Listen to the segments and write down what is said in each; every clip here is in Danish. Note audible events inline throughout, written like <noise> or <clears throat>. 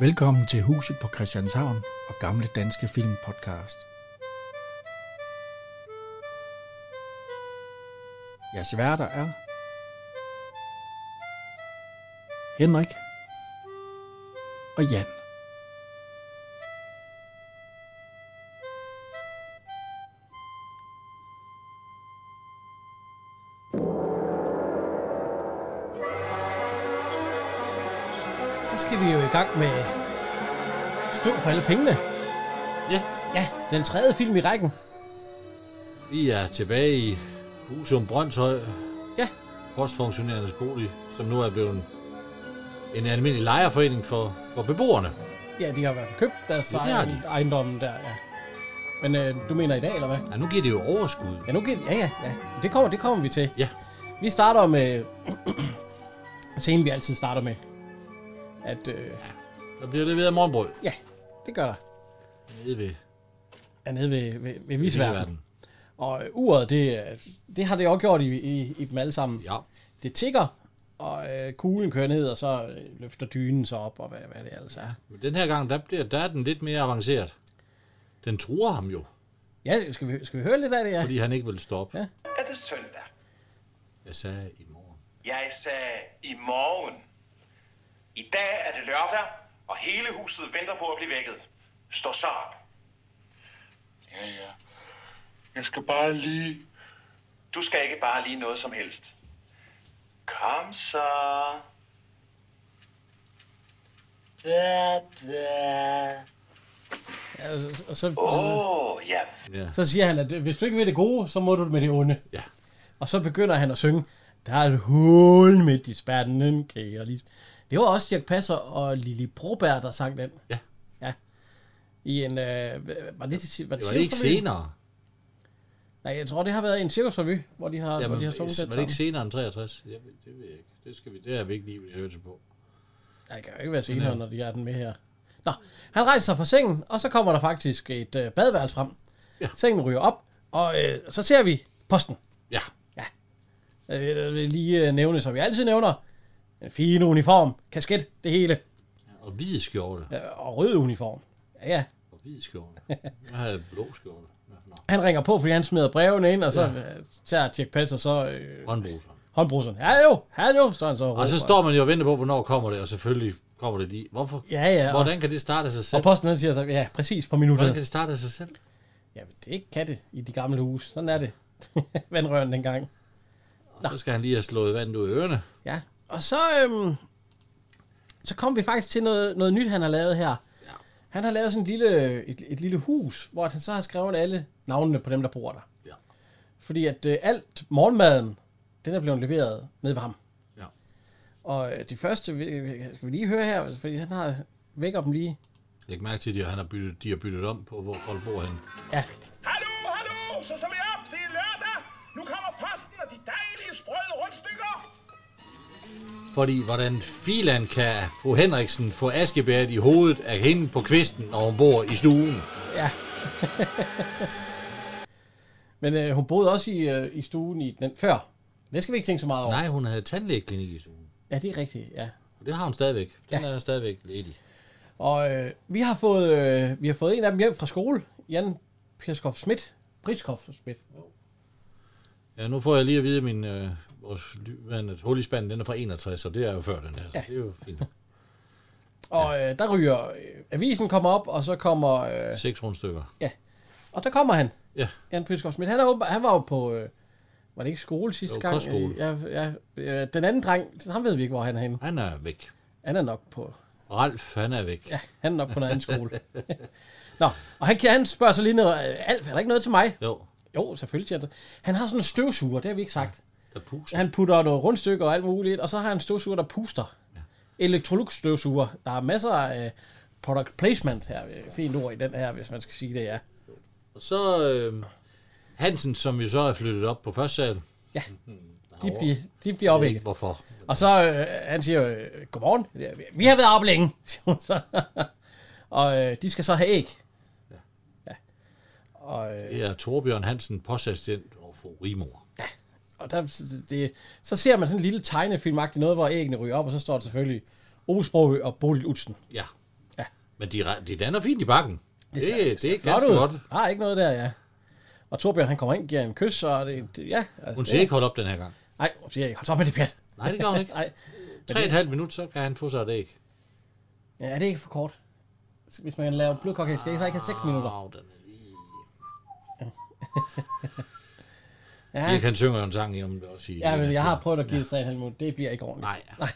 Velkommen til Huset på Christianshavn og Gamle Danske Film Podcast. Jeres værter er Henrik og Jan. Så skal vi jo i gang med Støv for alle pengene. Ja, Ja, den tredje film i rækken. vi er tilbage i Husum Brøndshøj. Ja. Postfunktionærernes bolig, som nu er blevet en almindelig lejerforening for, for beboerne. Ja, de har i hvert fald købt deres Ja, det har de. ejendomme der, ja. Men øh, du mener i dag, eller hvad? Ja, nu giver det jo overskud. Ja, nu giver, ja, ja, ja. Det kommer, det kommer vi til. Ja. Vi starter med <clears throat> scenen, vi altid starter med. At, øh, Der bliver leveret morgenbrød ja, det gør der. nede ved Er nede ved, ved, ved Visverden. Viseverden. Og øh, uret, det, øh, det har det også gjort i, i, i dem alle sammen. Ja, Det tigger, og øh, kuglen kører ned, og så øh, løfter dynen så op, og hvad, hvad det altså er. men den her gang, der, bliver, der er den lidt mere avanceret. Den truer ham jo, Ja, skal vi, skal vi høre lidt af det, ja? fordi han ikke vil stoppe. Ja. er det søndag. Jeg sagde i morgen. Jeg sagde i morgen. I dag er det lørdag, og hele huset venter på at blive vækket. Stå så op. Ja, ja. Jeg skal bare lige... Du skal ikke bare lige noget som helst. Kom så. Da, da. ja og, så, og så, Åh, oh, ja. Ja. så siger han, at hvis du ikke vil det gode, så må du med det onde. ja. Og så begynder han at synge, der er et hul midt i spanden, kan jeg lige... Det var også Dirk Passer og Lili Broberg, der sang den. Ja. Ja. I en... Øh, var det, til- var det, Det var det ikke cirkusrevy? senere. Nej, jeg tror, det har været i en cirkusrevy, hvor de har, hvor de har sunget var den det ikke sammen. senere end 63? Jeg, ved- det ved jeg ikke. Det, skal vi, det er vi ikke lige researche på. Nej, det kan jo ikke være senere, øh, når de har den med her. Nå, han rejser sig fra sengen, og så kommer der faktisk et øh, badeværelse frem. Ja. Ja. Sengen ryger op, og øh, så ser vi posten. Ja, Øh, Jeg vil lige øh, nævne, som jeg altid nævner. En fin uniform, kasket, det hele. og hvid skjorte. Øh, Og rød uniform. Ja, ja. Og hvid skjorte. Jeg havde blå skjorte. Nå, nå. Han ringer på, fordi han smider brevene ind, og så ja. tager Jack Passer så øh, Håndbruser. håndbruseren. Hallo, hallo, står han så og Og så råber. står man jo og venter på, hvornår kommer det, og selvfølgelig kommer det lige. Hvorfor? Ja, ja. Og, Hvordan kan det starte af sig og selv? posten han siger så, ja, præcis på minuttet. Hvordan kan det starte af sig selv? Ja, det kan det i de gamle huse. Sådan er det. <laughs> Vandrøren dengang. Og så skal han lige have slået vand ud af ørerne. Ja, og så, øhm, så kom vi faktisk til noget, noget nyt, han har lavet her. Ja. Han har lavet sådan et lille, et, et lille hus, hvor han så har skrevet alle navnene på dem, der bor der. Ja. Fordi at øh, alt morgenmaden, den er blevet leveret ned ved ham. Ja. Og øh, de første, vi, vi- skal vi lige høre her, fordi han har vækker dem lige. Læg mærke til, at de har- han har byttet, de har byttet om på, hvor folk bor henne. Ja, Hallo, hallo, så står vi op. Det er lørdag. Nu kommer posten og de dejlige sprøde rundstykker. Fordi hvordan filan kan fru Henriksen få askebæret i hovedet af hende på kvisten, når hun bor i stuen? ja. Men øh, hun boede også i, øh, i stuen i den før. Det skal vi ikke tænke så meget over. Nej, hun havde tandlægeklinik i stuen. Ja, det er rigtigt, ja. Og det har hun stadigvæk. Den Ja. er stadigvæk ledig. Og øh, vi har fået øh, vi har fået en af dem hjem fra skole, Jan Pirskov Schmidt, Priskov Schmidt. Ja, nu får jeg lige at vide, at min, øh, vores lyvand, at hul i spanden, den er fra 61, og det er jo før den her. Ja. Ja. Så det er jo <laughs> fint. Og øh, der ryger øh, avisen kommer op, og så kommer øh, Seks rundstykker. og der kommer han, Ja, Jan Priskov Schmidt. Han er åbenbart, han var jo på øh, var det ikke skole sidste Jo, gang? kostskole. Øh, Ja, ja, øh, den anden dreng, han ved vi ikke hvor han er henne. han er væk. Han er nok på <laughs> Ralf, han er væk. Ja. han er nok på en anden <laughs> skole. Nå, og han, kan- han spørger så lige noget, øh, Alf, er der ikke noget til mig? Jo, Jo, selvfølgelig. siger han så. Han har sådan en støvsuger, det har vi ikke sagt. der puster. Han... Han putter noget rundstykker og alt muligt, og så har han en støvsuger, der puster. Electrolux støvsuger. Der er masser af øh, product placement her. øh, Fint ord i den her, hvis man skal sige det, ja. Og så øh, Hansen, som jo så er flyttet op på første sal. De, bliver, de bliver Jeg ved ikke opvækket. hvorfor. Og så øh, han siger, øh, godmorgen. Vi har været op længe, <laughs> siger hun så. og øh, de skal så have æg. Ja. Og, øh, Det er Torbjørn Hansen, postassistent og fru Rimor. og der, det, så ser man sådan en lille tegnefilmagtig noget, hvor æggene ryger op, og så står der selvfølgelig Osbro og Bodil Utsen. Ja, Men de, re- de lander fint i bakken. Det, ser- det, det er Flot ganske ud. godt. Der er ikke noget der, ja. Og Torbjørn, han kommer ind, giver en kys, og det, det ja. Altså, Hun siger ikke hold op den her gang. Nej, hun siger ikke, hold så op med det pjat. Nej, det gør hun ikke. Nej, Tre og et halvt minut, så kan han få sig et æg. ja, er det ikke for kort? Hvis man laver blodkok, skal jeg så ikke have 6 minutter. Wow, den er lige... Ja, Det kan synger jo en sang i, om det også i... ja men jeg har prøvet at give det 3,5 minutter. Det bliver ikke ordentligt. Nej.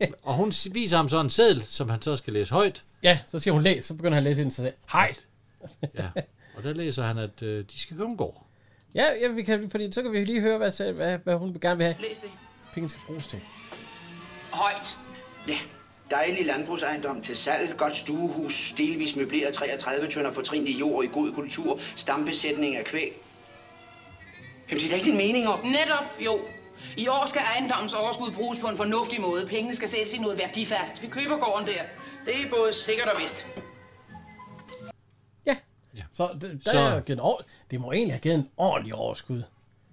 Nej. Og hun si- viser ham så en seddel, som han så skal læse højt. ja, så siger hun læs, så begynder han at læse ind, så siger hej. Ja. Og der læser han, at øh, de skal købe en gård. Ja, ja vi kan, fordi så kan vi lige høre, hvad, hvad, hvad hun gerne vil have. Læs det. Penge skal bruges til. Højt. Ja, dejlig landbrugsejendom til salg, godt stuehus, delvis møbleret 33 tønder fortrinlig jord i god kultur, stambesætning af kvæg. Jamen, det er da ikke din mening om. Netop, jo. I år skal ejendommens overskud bruges på en fornuftig måde. Pengene skal sættes i noget værdifast. Vi køber gården der. Det er både sikkert og vist. Ja. Ja. Så det, der Så- så... Er jo givet en ord... det må egentlig have givet en ordentlig overskud,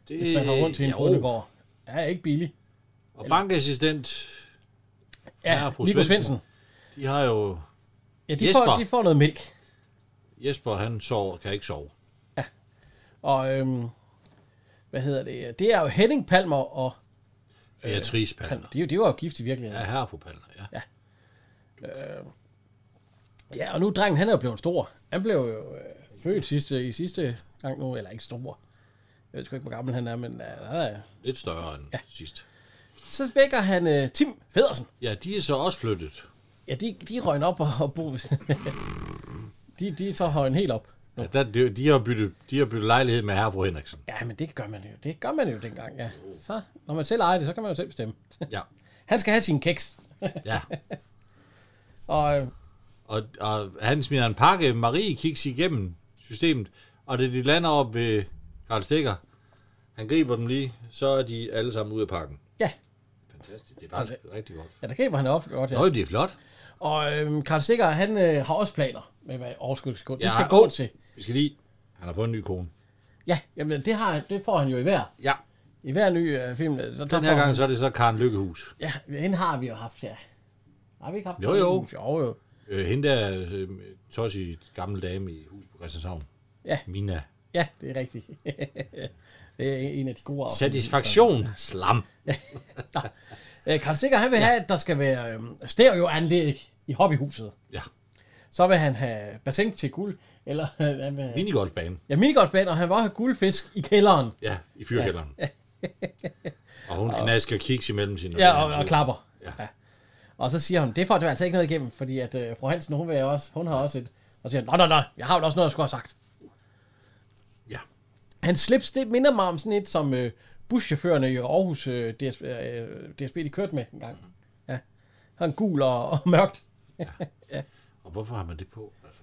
Det, hvis man har rundt til en Øh, jo. bondegård. Ja, ikke billig. Og bankassistent, Ja, Ja, ja fru Nico Svendsen. Svendsen. de har jo... Ja, de Jesper. får, de får noget mælk. Jesper, han sover, kan ikke sove. Og øhm, hvad hedder det? Det er jo Henning Palmer og... Øh, Beatrice Palmer. De, de var jo gift i virkeligheden. Ja, Ja. herre fru Palmer, ja. ja, og nu er drengen, han er jo blevet stor. Han blev jo øh, født sidste, i sidste gang nu, eller ikke stor. Jeg ved sgu ikke, hvor gammel han er, men øh, han er... Lidt større end ja. sidst. Så vækker han øh, Tim Federsen. Ja, de er så også flyttet. Ja, de, de røgner op og, og bo. de, de er så højne helt op. Ja, der, de, de, har byttet, de har byttet lejlighed med herre fru Henriksen. Ja, men det gør man jo. Det gør man jo dengang, ja. Så, når man selv ejer det, så kan man jo selv bestemme. Ja, Han skal have sin keks. ja. Og øh, Og, og han smider en pakke, Marie kiks igennem systemet, og det de lander op ved Karl Stikker. Han griber dem lige, så er de alle sammen ude af pakken. ja, Fantastisk, det er faktisk rigtig godt. ja der griber han op godt, ja. Nå, det er flot. Og øh, Karl Stikker, han øh, har også planer med, hvad overskud skal gå. Det Ja, skal gå åh. til. Vi skal lige... Han har fået en ny kone. Ja, jamen det, har, det får han jo i hver. Ja, I hver ny øh, film. øh, Så der den her får gang han- så er det så Karen Lykkehus. Ja, hende har vi jo haft, ja. Har vi ikke haft Jo, den? jo. Jo, jo. Øh, hende der øh, tossige gamle dame i hus på Christianshavn. Ja. Mina. Ja, det er rigtigt. <laughs> det er en af de gode afsnit. Satisfaktion. Slam. Øh, Karl Stikker, han vil ja. have, at der skal være øhm, stereoanlæg i hobbyhuset. Ja. Så vil han have bassin til guld, eller øh, han vil have, Minigolfbane. ja, minigolfbane, og han vil også have guldfisk i kælderen. Ja, i fyrkælderen. Ja. og hun knasker kiks imellem sine. Ja, og, og klapper. Ja. Og så siger hun, det får du altså ikke noget igennem, fordi at øh, fru Hansen, hun, vil også, hun har også et... Og siger, nej, nej, nej, jeg har jo også noget, jeg skulle have sagt. Ja. Hans slips, det minder mig om sådan et, som øh, buschaufførerne i Aarhus øh, DSB, øh, DSB, de kørte med en gang. Ja. Han gul og, og mørkt. Og hvorfor har man det på? Altså,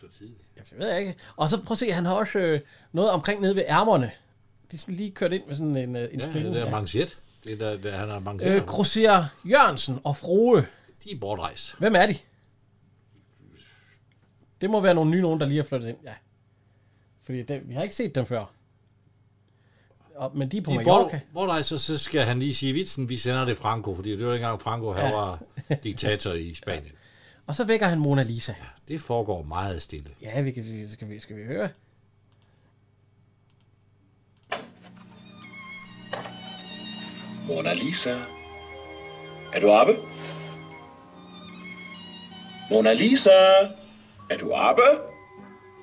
så tidligt. Jamen, det ved jeg ikke. Og så prøv at se, han har også øh, noget omkring nede ved ærmerne. De er sådan lige kørt ind med sådan en, øh, en Ja, string. det er manchet. Det er der, der han har manchet. Øh, Grosser Jørgensen og Froe. de er bortrejst. Hvem er de? Det må være nogle nye nogen, der lige er flyttet ind. Ja. Fordi det, vi har ikke set dem før. Og, men de er på De er Mallorca. bort, bortrejst, og så skal han lige sige vitsen, vi sender det Franco, fordi det var dengang Franco, han Ja. var diktator i Spanien. Og så vækker han Mona Lisa. Det foregår meget stille. Ja, vi kan, vi- skal, vi, skal vi høre? Mona Lisa. Er du oppe? Mona Lisa. Er du oppe?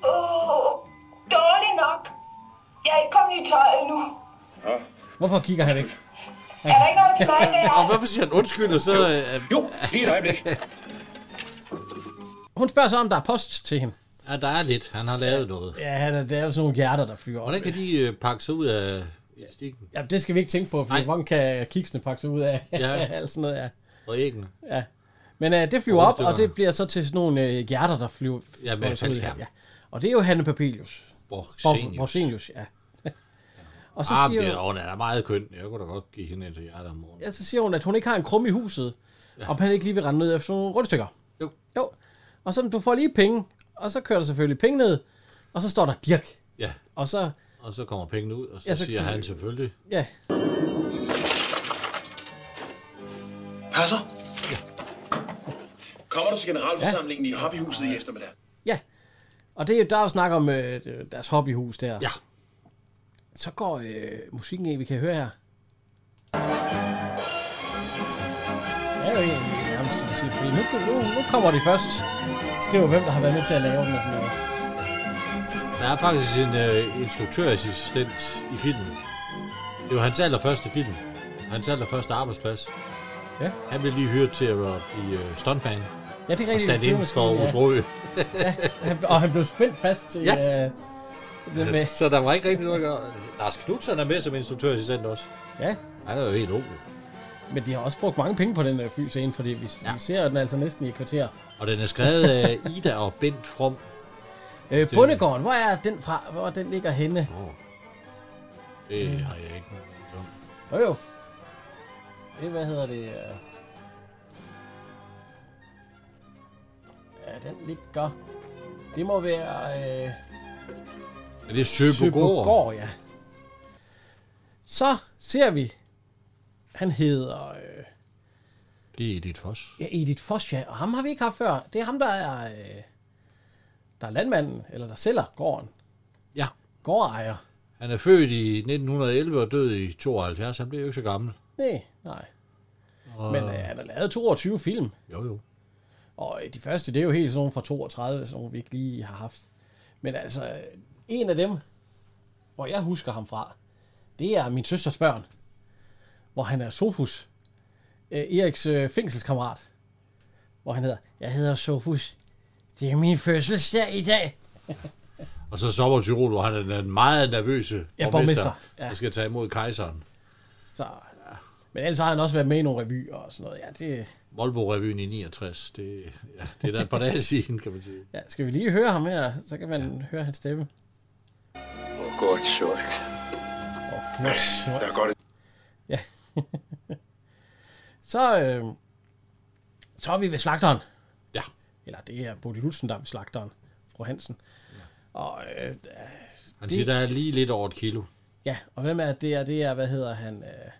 Åh, dårlig nok. Jeg er ikke kommet i tøj endnu. Hvorfor kigger han ikke? Er der ikke noget til mig, der <laughs> Og hvorfor siger han undskyld, og så... Øh, Jo, lige et øjeblik. Hun spørger så, om der er post til hende. ja, der er lidt. Han har lavet noget. Ja, han er- det er jo sådan nogle hjerter, der flyver. Hvordan kan de øh, pakke sig ud af elastikken Ja, det skal vi ikke tænke på, for Nej. hvordan kan kiksene pakke sig ud af Ja. ja. <laughs> alt sådan noget, ja. og æggene? Men uh, det flyver Og op, og rundstykkerne. det bliver så til sådan nogle uh, hjerter, der flyver. Ja, med flyver sig ud af- faldskærm. Og det er jo Hanne Papelius. Borgsenius. Borsenius, <laughs> ja. og så Ah, siger, det, hun, hun er da meget køn. Jeg kunne da godt give hende et hjerte om morgenen. ja, så siger hun, at hun ikke har en krum i huset, ja. og han ikke lige vil rende ned efter nogle rundstykker. Jo. Jo. Og så du får lige penge, og så kører der selvfølgelig penge ned, og så står der Dirk. Ja, Og så, og så kommer pengene ud, og så, Ja, så så siger kan- han selvfølgelig, ja, Passer. Kommer du til generalforsamlingen ja. i hobbyhuset i eftermiddag? Ja. Og det, er jo- der er jo snak om øh, deres hobbyhus der. Ja. Så går øh, musikken ind, vi kan høre her. Det er jo egentlig nærmest at sige, fordi nu, nu, nu kommer de først. Skriver, hvem der har været med til at lave den. og sådan noget. Der er faktisk en øh, instruktørassistent i filmen. Det var hans allerførste film. Hans allerførste arbejdsplads. Ja. Han blev lige hyret til at være i øh, stuntman Ja, det er og rigtigt. stand det er ind måske- for ja. Osbro ja. Han- Og han blev spændt fast til... Ja. Ja. Øh, det med. Så der var ikke rigtig noget at gøre. Lars Knudsen er med som instruktørassistent også. ja. Han er jo helt ung. jo. Men de har også brugt mange penge på den der fyscene, fordi vi, ja. Ja. vi ser den altså næsten i et kvarter. Og den er skrevet <laughs> af Ida og Bent From. Øh, Bundegården, hvor er den fra? Hvor den ligger henne? Oh. Mm. Det har jeg ikke nogen anelse om. Jo jo. Det, hvad hedder det? øh? Ja, den ligger... Det må være... Øh, Er det Søbogård? Søborgård, ja. Så ser vi... Han hedder... Øh, Det er Edith Foss. ja, Edith Foss, ja. Og ham har vi ikke haft før. Det er ham, der er... Øh, der er landmanden, eller der sælger gården. Ja. Gårdejer. Han er født i 1911 og død i 72. Han blev jo ikke så gammel. Nej, nej. Og... Men øh, han har lavet 22 film. Jo, jo. Og øh, de første, det er jo helt sådan nogle fra 32, sådan nogle, vi ikke lige har haft. Men altså, øh, en af dem, hvor jeg husker ham fra, det er min søsters børn, hvor han er Sofus, øh, Eriks øh, fængselskammerat, hvor han hedder, jeg hedder Sofus, det er min fødselsdag i dag. Og så Sommer Tyrol, hvor han er den meget nervøse Ja, borgmester, borgmester. Ja. ja. der skal tage imod kejseren. Så, ja. Men ellers har han også været med i nogle revyer og sådan noget. Ja, det, Volvo-revyen i 69. Det, ja, det er da et par dage <laughs> siden, kan man sige. ja, skal vi lige høre ham her, så kan man ja. høre hans stemme. Åh, godt sjovt. Og knus, Der går det. <laughs> Så, øh, så er vi ved slagteren. Ja. Eller det er Bodil Lutzen, der er ved slagteren. Fru Hansen. Og, øh, Han siger, der er lige lidt over et kilo. ja, og hvem er det? Er det er, hvad hedder han? Øh,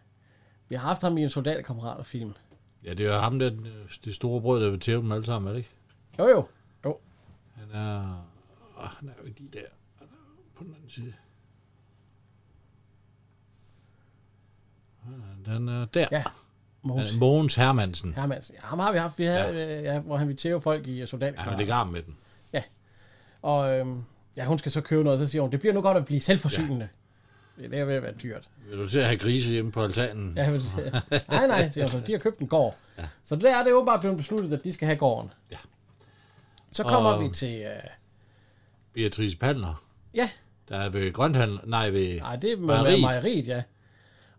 vi har haft ham i en soldaterkammeraterfilm. Ja, det er jo ham, der den, øh, det store brød, der vil tæve dem alle sammen, er det ikke? Jo, jo. jo. Han er... Åh, han er jo ikke lige der. Han er på den anden side. Den er der. Ja. Mogens Han er Mogens Hermansen. Ja. Hermansen. Ja, ham har vi haft, vi havde, ja. Øh, ja, hvor han ville tæve folk i øh, Han vil soldaterkammerater. lægge arm med den. og øh, ja, hun skal så købe noget, og så siger hun, det bliver nu godt at blive selvforsynende. Ja. Det er ved at være dyrt. Vil du til at have grise hjemme på altanen? Ja, men, nej, nej, siger hun, så. de har købt en gård. Ja. Så der er det åbenbart blevet besluttet, at de skal have gården. Ja. Så kommer Og- vi til... Øh, Beatrice Palner, ja, der er ved Grønhandel... Nej, ved... Nej, det må Mejeriet. være mejeriet, ja.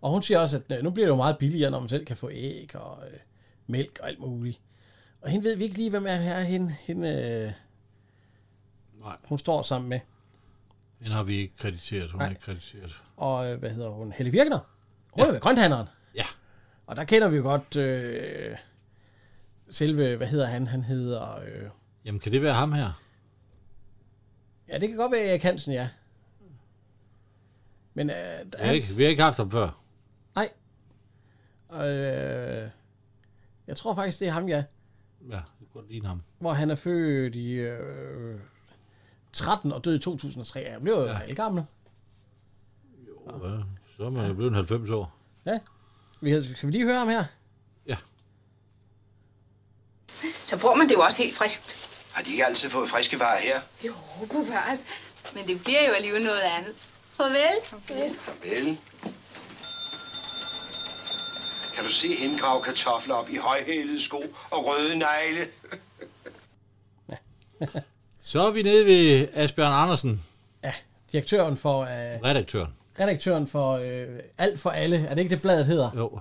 Og hun siger også, at øh, nu bliver det jo meget billigere, når man selv kan få æg og øh, mælk og alt muligt. Og hende ved vi ikke lige, hvem er her, hende, hende øh, Nej. hun står sammen med. Den har vi ikke krediteret. Hun er Nej. ikke krediteret. Og øh, hvad hedder hun? Helle Virkner. Hun ja. er ved grønthandleren. Ja. Og der kender vi jo godt øh, selve, hvad hedder han? Han hedder... Øh, Jamen, kan det være ham her? ja, det kan godt være Erik Hansen, ja. Men øh, der Vi har, ikke, vi har ikke haft ham før. Nej. Og, øh, jeg tror faktisk, det er ham, ja. Ja, det kunne godt ligne ham. hvor han er født i øh, 13 og død i 2003. Han blev jo ja. gammel. Ja, så er man jo blevet 90 år. Ja. Vi, skal vi lige høre ham her? Så bruger man det jo også helt friskt. Har de ikke altid fået friske varer her? Jo, bevares. Men det bliver jo alligevel noget andet. Farvel. Vel. Kan du se indgrave kartofler op i højhælede sko og røde negle? Så er vi nede ved Asbjørn Andersen, Direktøren for, øh, redaktøren. redaktøren for øh, Alt for Alle. Er det ikke det, bladet hedder? Jo.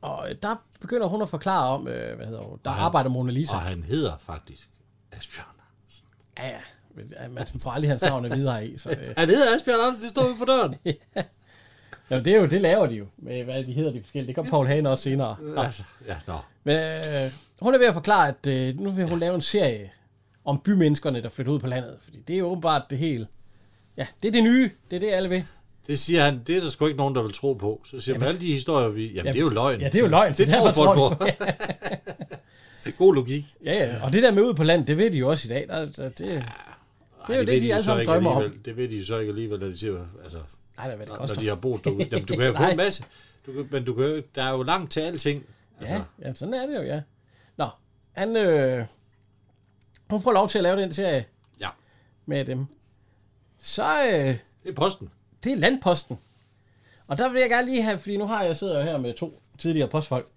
Og øh, der begynder hun at forklare om, øh, hvad hedder hun, der arbejder Mona Lisa. Og han hedder faktisk Asbjørn. Ja, ja. Men, øh, Man får aldrig hans navn videre i. Så, øh. <laughs> Han hedder Asbjørn Andersen, det står vi på <laughs> døren. Jamen, det er jo, det laver de jo. Med, hvad de hedder de forskellige. Det kom Paul Hagen også senere. Nå. altså, ja, nå. Men, øh, hun er ved at forklare, at øh, nu vil hun lave en serie om bymenneskerne, der flytter ud på landet. Fordi det er jo åbenbart det hele. Ja, det er det nye. Det er det, alle vil. Det siger han, det er der sgu ikke nogen, der vil tro på. Så siger man, alle de historier, vi... Jamen, det er jo løgn. Ja, det er jo løgn. Det tror folk på. de- <laughs> God logik. <laughs> Ja, ja, og det der med ud på land, det ved de jo også i dag. Der, der, det, det er jo det, ved de jo alle så sammen ikke drømmer om. alligevel. Det ved de jo så ikke alligevel, når de siger, altså, Nej, hvad det når, koster. når de har boet derude. Jamen, du kan <laughs> jo få Nej. en masse, du kan, men du kan, jo- der er jo langt til alting. Altså, Ja, ja, sådan er det jo, ja. Nå, han, øh, hun får lov til at lave den serie Ja. med dem. Så, øh, Det er posten. det er landposten. Og der vil jeg gerne lige have, fordi nu har jeg sidder jo her med to tidligere postfolk.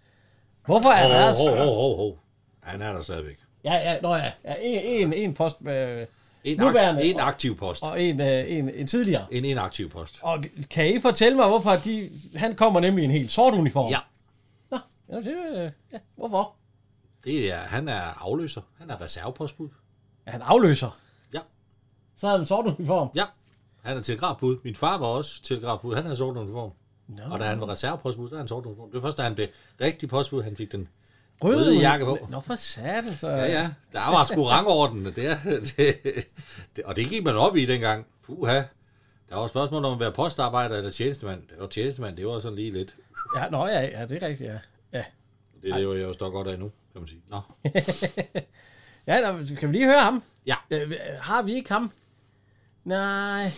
Hvorfor er Hov, deres... hov, hov, hov, hov. Han er der stadigvæk. Ja, ja, nå ja, ja en, en, en post øh, En, Nuværende. akt, en aktiv post. og en, øh, en, en tidligere. En inaktiv post. Og kan I fortælle mig, hvorfor de, han kommer nemlig i en helt sort uniform? Ja, Nå, jamen, det, øh, ja, hvorfor? det er, han er afløser. Han er reservepostbud. Er han afløser? Ja. Så har han en sort uniform? Ja, han er telegrafbud. Min far var også telegrafbud. Han havde sort uniform. Nå. Og da han var reservepostbud, der havde han sort uniform. Det var først, da han blev rigtig postbud, han fik den. røde, Røde jakke på. Nå, for satan, så... Ja, ja. Der var sgu rangorden. Det, er- <laughs> det, det, og det gik man op i dengang. Puha. Der var spørgsmål om at være postarbejder eller tjenestemand. Det var tjenestemand, det var sådan lige lidt. ja nå, ja, ja, det er rigtigt, ja. Ja, Det lever jeg jo står godt af nu, kan man sige. Nå. ja nå, kan vi lige høre ham? Ja. Øh, har vi ikke ham? Nej,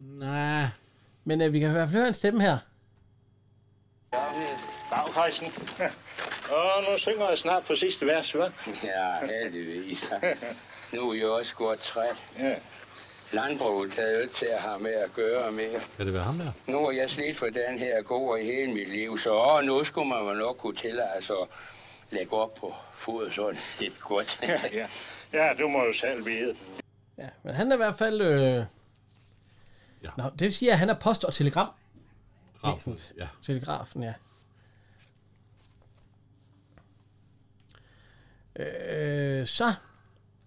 Nej. men øh, vi kan i hvert fald høre en stemme her. Daghøjsen. Og nu synger jeg snart på sidste vers, hva'? Ja, heldigvis. Nu er jeg også godt træt. Ja. Landbruget havde jo ikke til at have med at gøre mere. Kan det være ham der? Nu er jeg slidt for den her gård i hele mit liv, så åh, nu skulle man vel nok kunne tillade sig at lægge op på fodet sådan lidt <laughs> godt. Ja. ja, du må jo selv vide. Ja, men han er i hvert fald... Øh... Ja. Ja. Nå, det vil sige, at han er post og telegram. Grafbud. Ja. Telegrafen, ja. Øh, så...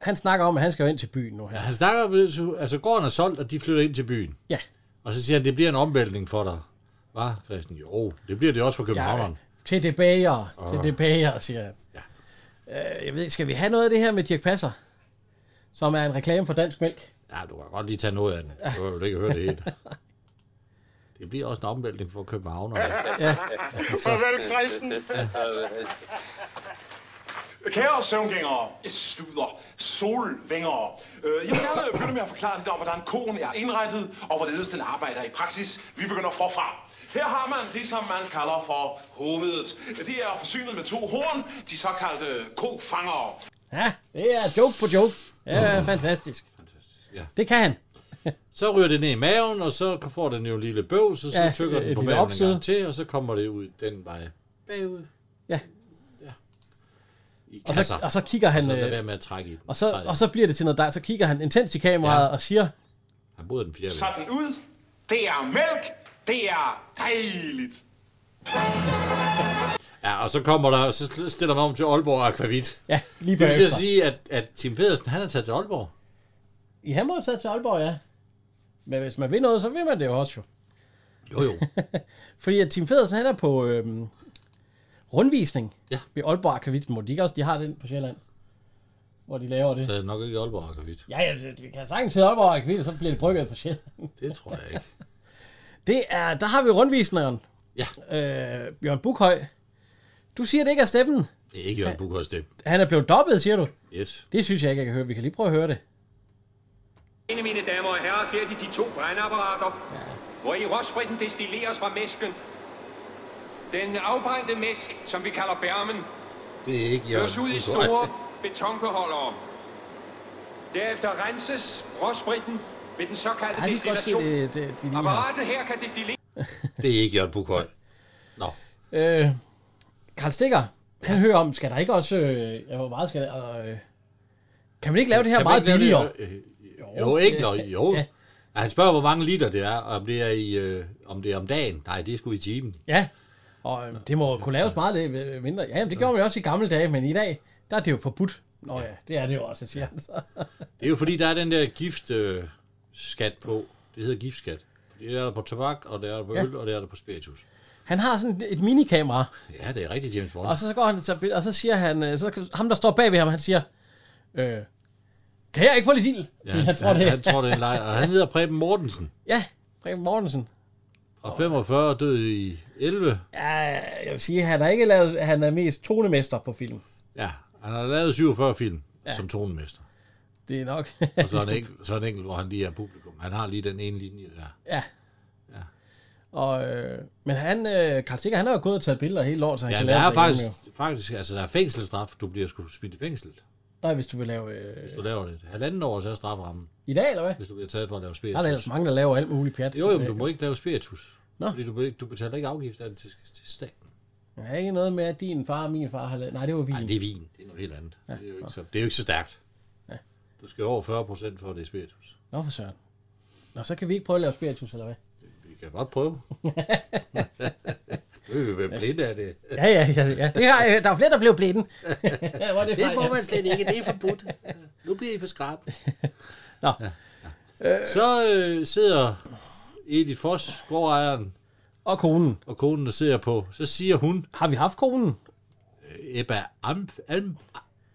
Han snakker om, at han skal jo ind til byen nu her. Ja, han snakker om, at altså, gården er solgt, og de flytter ind til byen. Ja. Og så siger han, det bliver en omvæltning for dig. Hvad, Christian? Jo, det bliver det også for københavneren. øh, Til det bager, til det bager, siger han. Ja. Øh, jeg ved, ikke, skal vi have noget af det her med Dirk Passer? Som er en reklame for dansk mælk. Ja, du kan godt lige tage noget af den. Du kan jo ikke høre det <laughs> helt. Det bliver også en omvæltning for københavnerne. Farvel, Christen. Kære søvngængere, sluder, solvængere. Øh, Jeg vil gerne begynde med at forklare lidt om, hvordan koen er indrettet, og hvorledes den arbejder i praksis. Vi begynder forfra. Her har man det, som man kalder for hovedet. Det er forsynet med to horn, de såkaldte kofangere. Ja, det er joke på joke. Ja, mm. fantastisk. ja. Det kan han. Så ryger det ned i maven, og så får den jo en lille bøvs, og så Ja, ja, tykker den et på lille maven en opstød. gang til, og så kommer det ud den vej bagud. Ja. ja. I Og kasser. så, og så kigger han... så Altså, lad øh, være med at trække i den. Og så, og så bliver det til noget der. Så kigger han intenst i kameraet ja. Ja. og siger... Han bryder den fjerde væg. Sådan ud. Det er mælk. Det er dejligt. Ja, og så kommer der, og så sl- stiller man om til Aalborg Aquavit. Ja, lige Det vil sige at bagefter. sige, at, at Tim Pedersen, han er taget til Aalborg. I han må jo tage til Aalborg, ja. Men hvis man vil noget, så vil man det jo også jo. Jo, jo. Fordi at Tim Federsen, han er på øhm, rundvisning Ja. ved Aalborg Akavit. Må de ikke også, de har den på Sjælland? Hvor de laver det. Så er det nok ikke Aalborg Aquavit. Ja, ja, det- vi kan sagtens sidde op over akvavit, og så bliver det brygget på sjæl. Det tror jeg ikke. Det er, der har vi rundvisneren. Ja. Øh, Bjørn Bukhøj. Du siger, det ikke er steppen. Det er ikke Jørgen Bukhøjs det. Han er blevet dobbet, siger du. Yes. Det synes jeg ikke, jeg kan høre. Vi kan lige prøve at høre det. Mine, mine damer og herrer, ser de de to brændeapparater, ja. hvor i råspritten destilleres fra mæsken. Den afbrændte mæsk, som vi kalder bærmen, Det er ikke køres ud i store betonbeholdere. Derefter renses råspritten ved den såkaldte Ej, det skal godt ske, destillation. det, det, de lige har. Apparatet her kan destillere Det er ikke Jørgen Bukhøj. Nå. Øh, Karl Stikker, han hører om, skal der ikke også... Øh, ja, hvor meget skal der... Øh, kan man ikke lave det her Kan man meget ikke lave det- billigere? Øh, Jo, ikke noget. Jo. Ja, han spørger, hvor mange liter det er, og om det er, i, øh, om det er om dagen. Nej, det er sgu i timen. Ja, og øh, det må jo kunne laves meget lidt øh, mindre. Ja, jamen, det gjorde man jo også i gamle dage, men i dag, der er det jo forbudt. Nå ja, det er det jo også, siger han så. Det er jo fordi, der er den der gift øh, skat på. Det hedder giftskat. Det er der på tobak, og det er der på Ja. øl, og det er der på spiritus. Han har sådan et minikamera, Ja, det er rigtigt, James Bond. og så, så går han til et billede, og så siger han, øh, så ham der står bag ved ham, han siger, øh, kan jeg ikke få lidt ild? Ja, <laughs> jeg tror det. Han tror, det er en leg. Og han hedder Preben Mortensen. Ja, Preben Mortensen. Og 45 og død i 11. Ja, jeg vil sige, han er ikke lavet, han er mest tonemester på film. Ja, Han har lavet 47 film ja. som tonemester. Det er nok. <laughs> Og så er en enkelt, så er en enkelt, hvor han lige er publikum. Han har lige den ene linje der. ja. Og, øh, men han, øh, Karl Stikker, han har jo gået og taget billeder hele året, så han Ja, kan der lave er det faktisk, derhjemme faktisk, altså der er fængselsstraf. Du bliver sgu smidt i fængsel, jo. Nej, hvis du vil lave... Øh, hvis du laver det. Halvanden år, så er straframmen, I dag, eller hvad? hvis du bliver taget for at lave Der er der ellers spiritus. mange, der laver alt muligt pjat. Jo, jo, men du må ikke lave spiritus. Nå. Fordi du, be- du betaler ikke afgift af det til, til staten. Ja, ikke noget med, at din far og min far har lavet... Nej, det var vin. Nej, det er vin. Det er noget helt andet. Ja. Det, er jo ikke så, det er jo ikke så stærkt. Ja. Du skal over 40 procent for at det er spiritus. Nå, for søren. Nå, så kan vi ikke prøve at lave spiritus, eller hvad? Vi kan godt <laughs> prøve. <laughs> du vil være blind af det. Ja, ja, ja. ja. Det har, øh, der er flere, der blev <laughs> blinde. ja, var det, fejl, ja. slet ikke. Det er forbudt. Nu bliver I for <laughs> skrab. Nå. Ja. Ja. Så øh, sidder Edith Foss, gårdejeren, Og konen. og konen, der sidder på. Så siger hun, Har vi haft konen? Ebba Amf, Alm,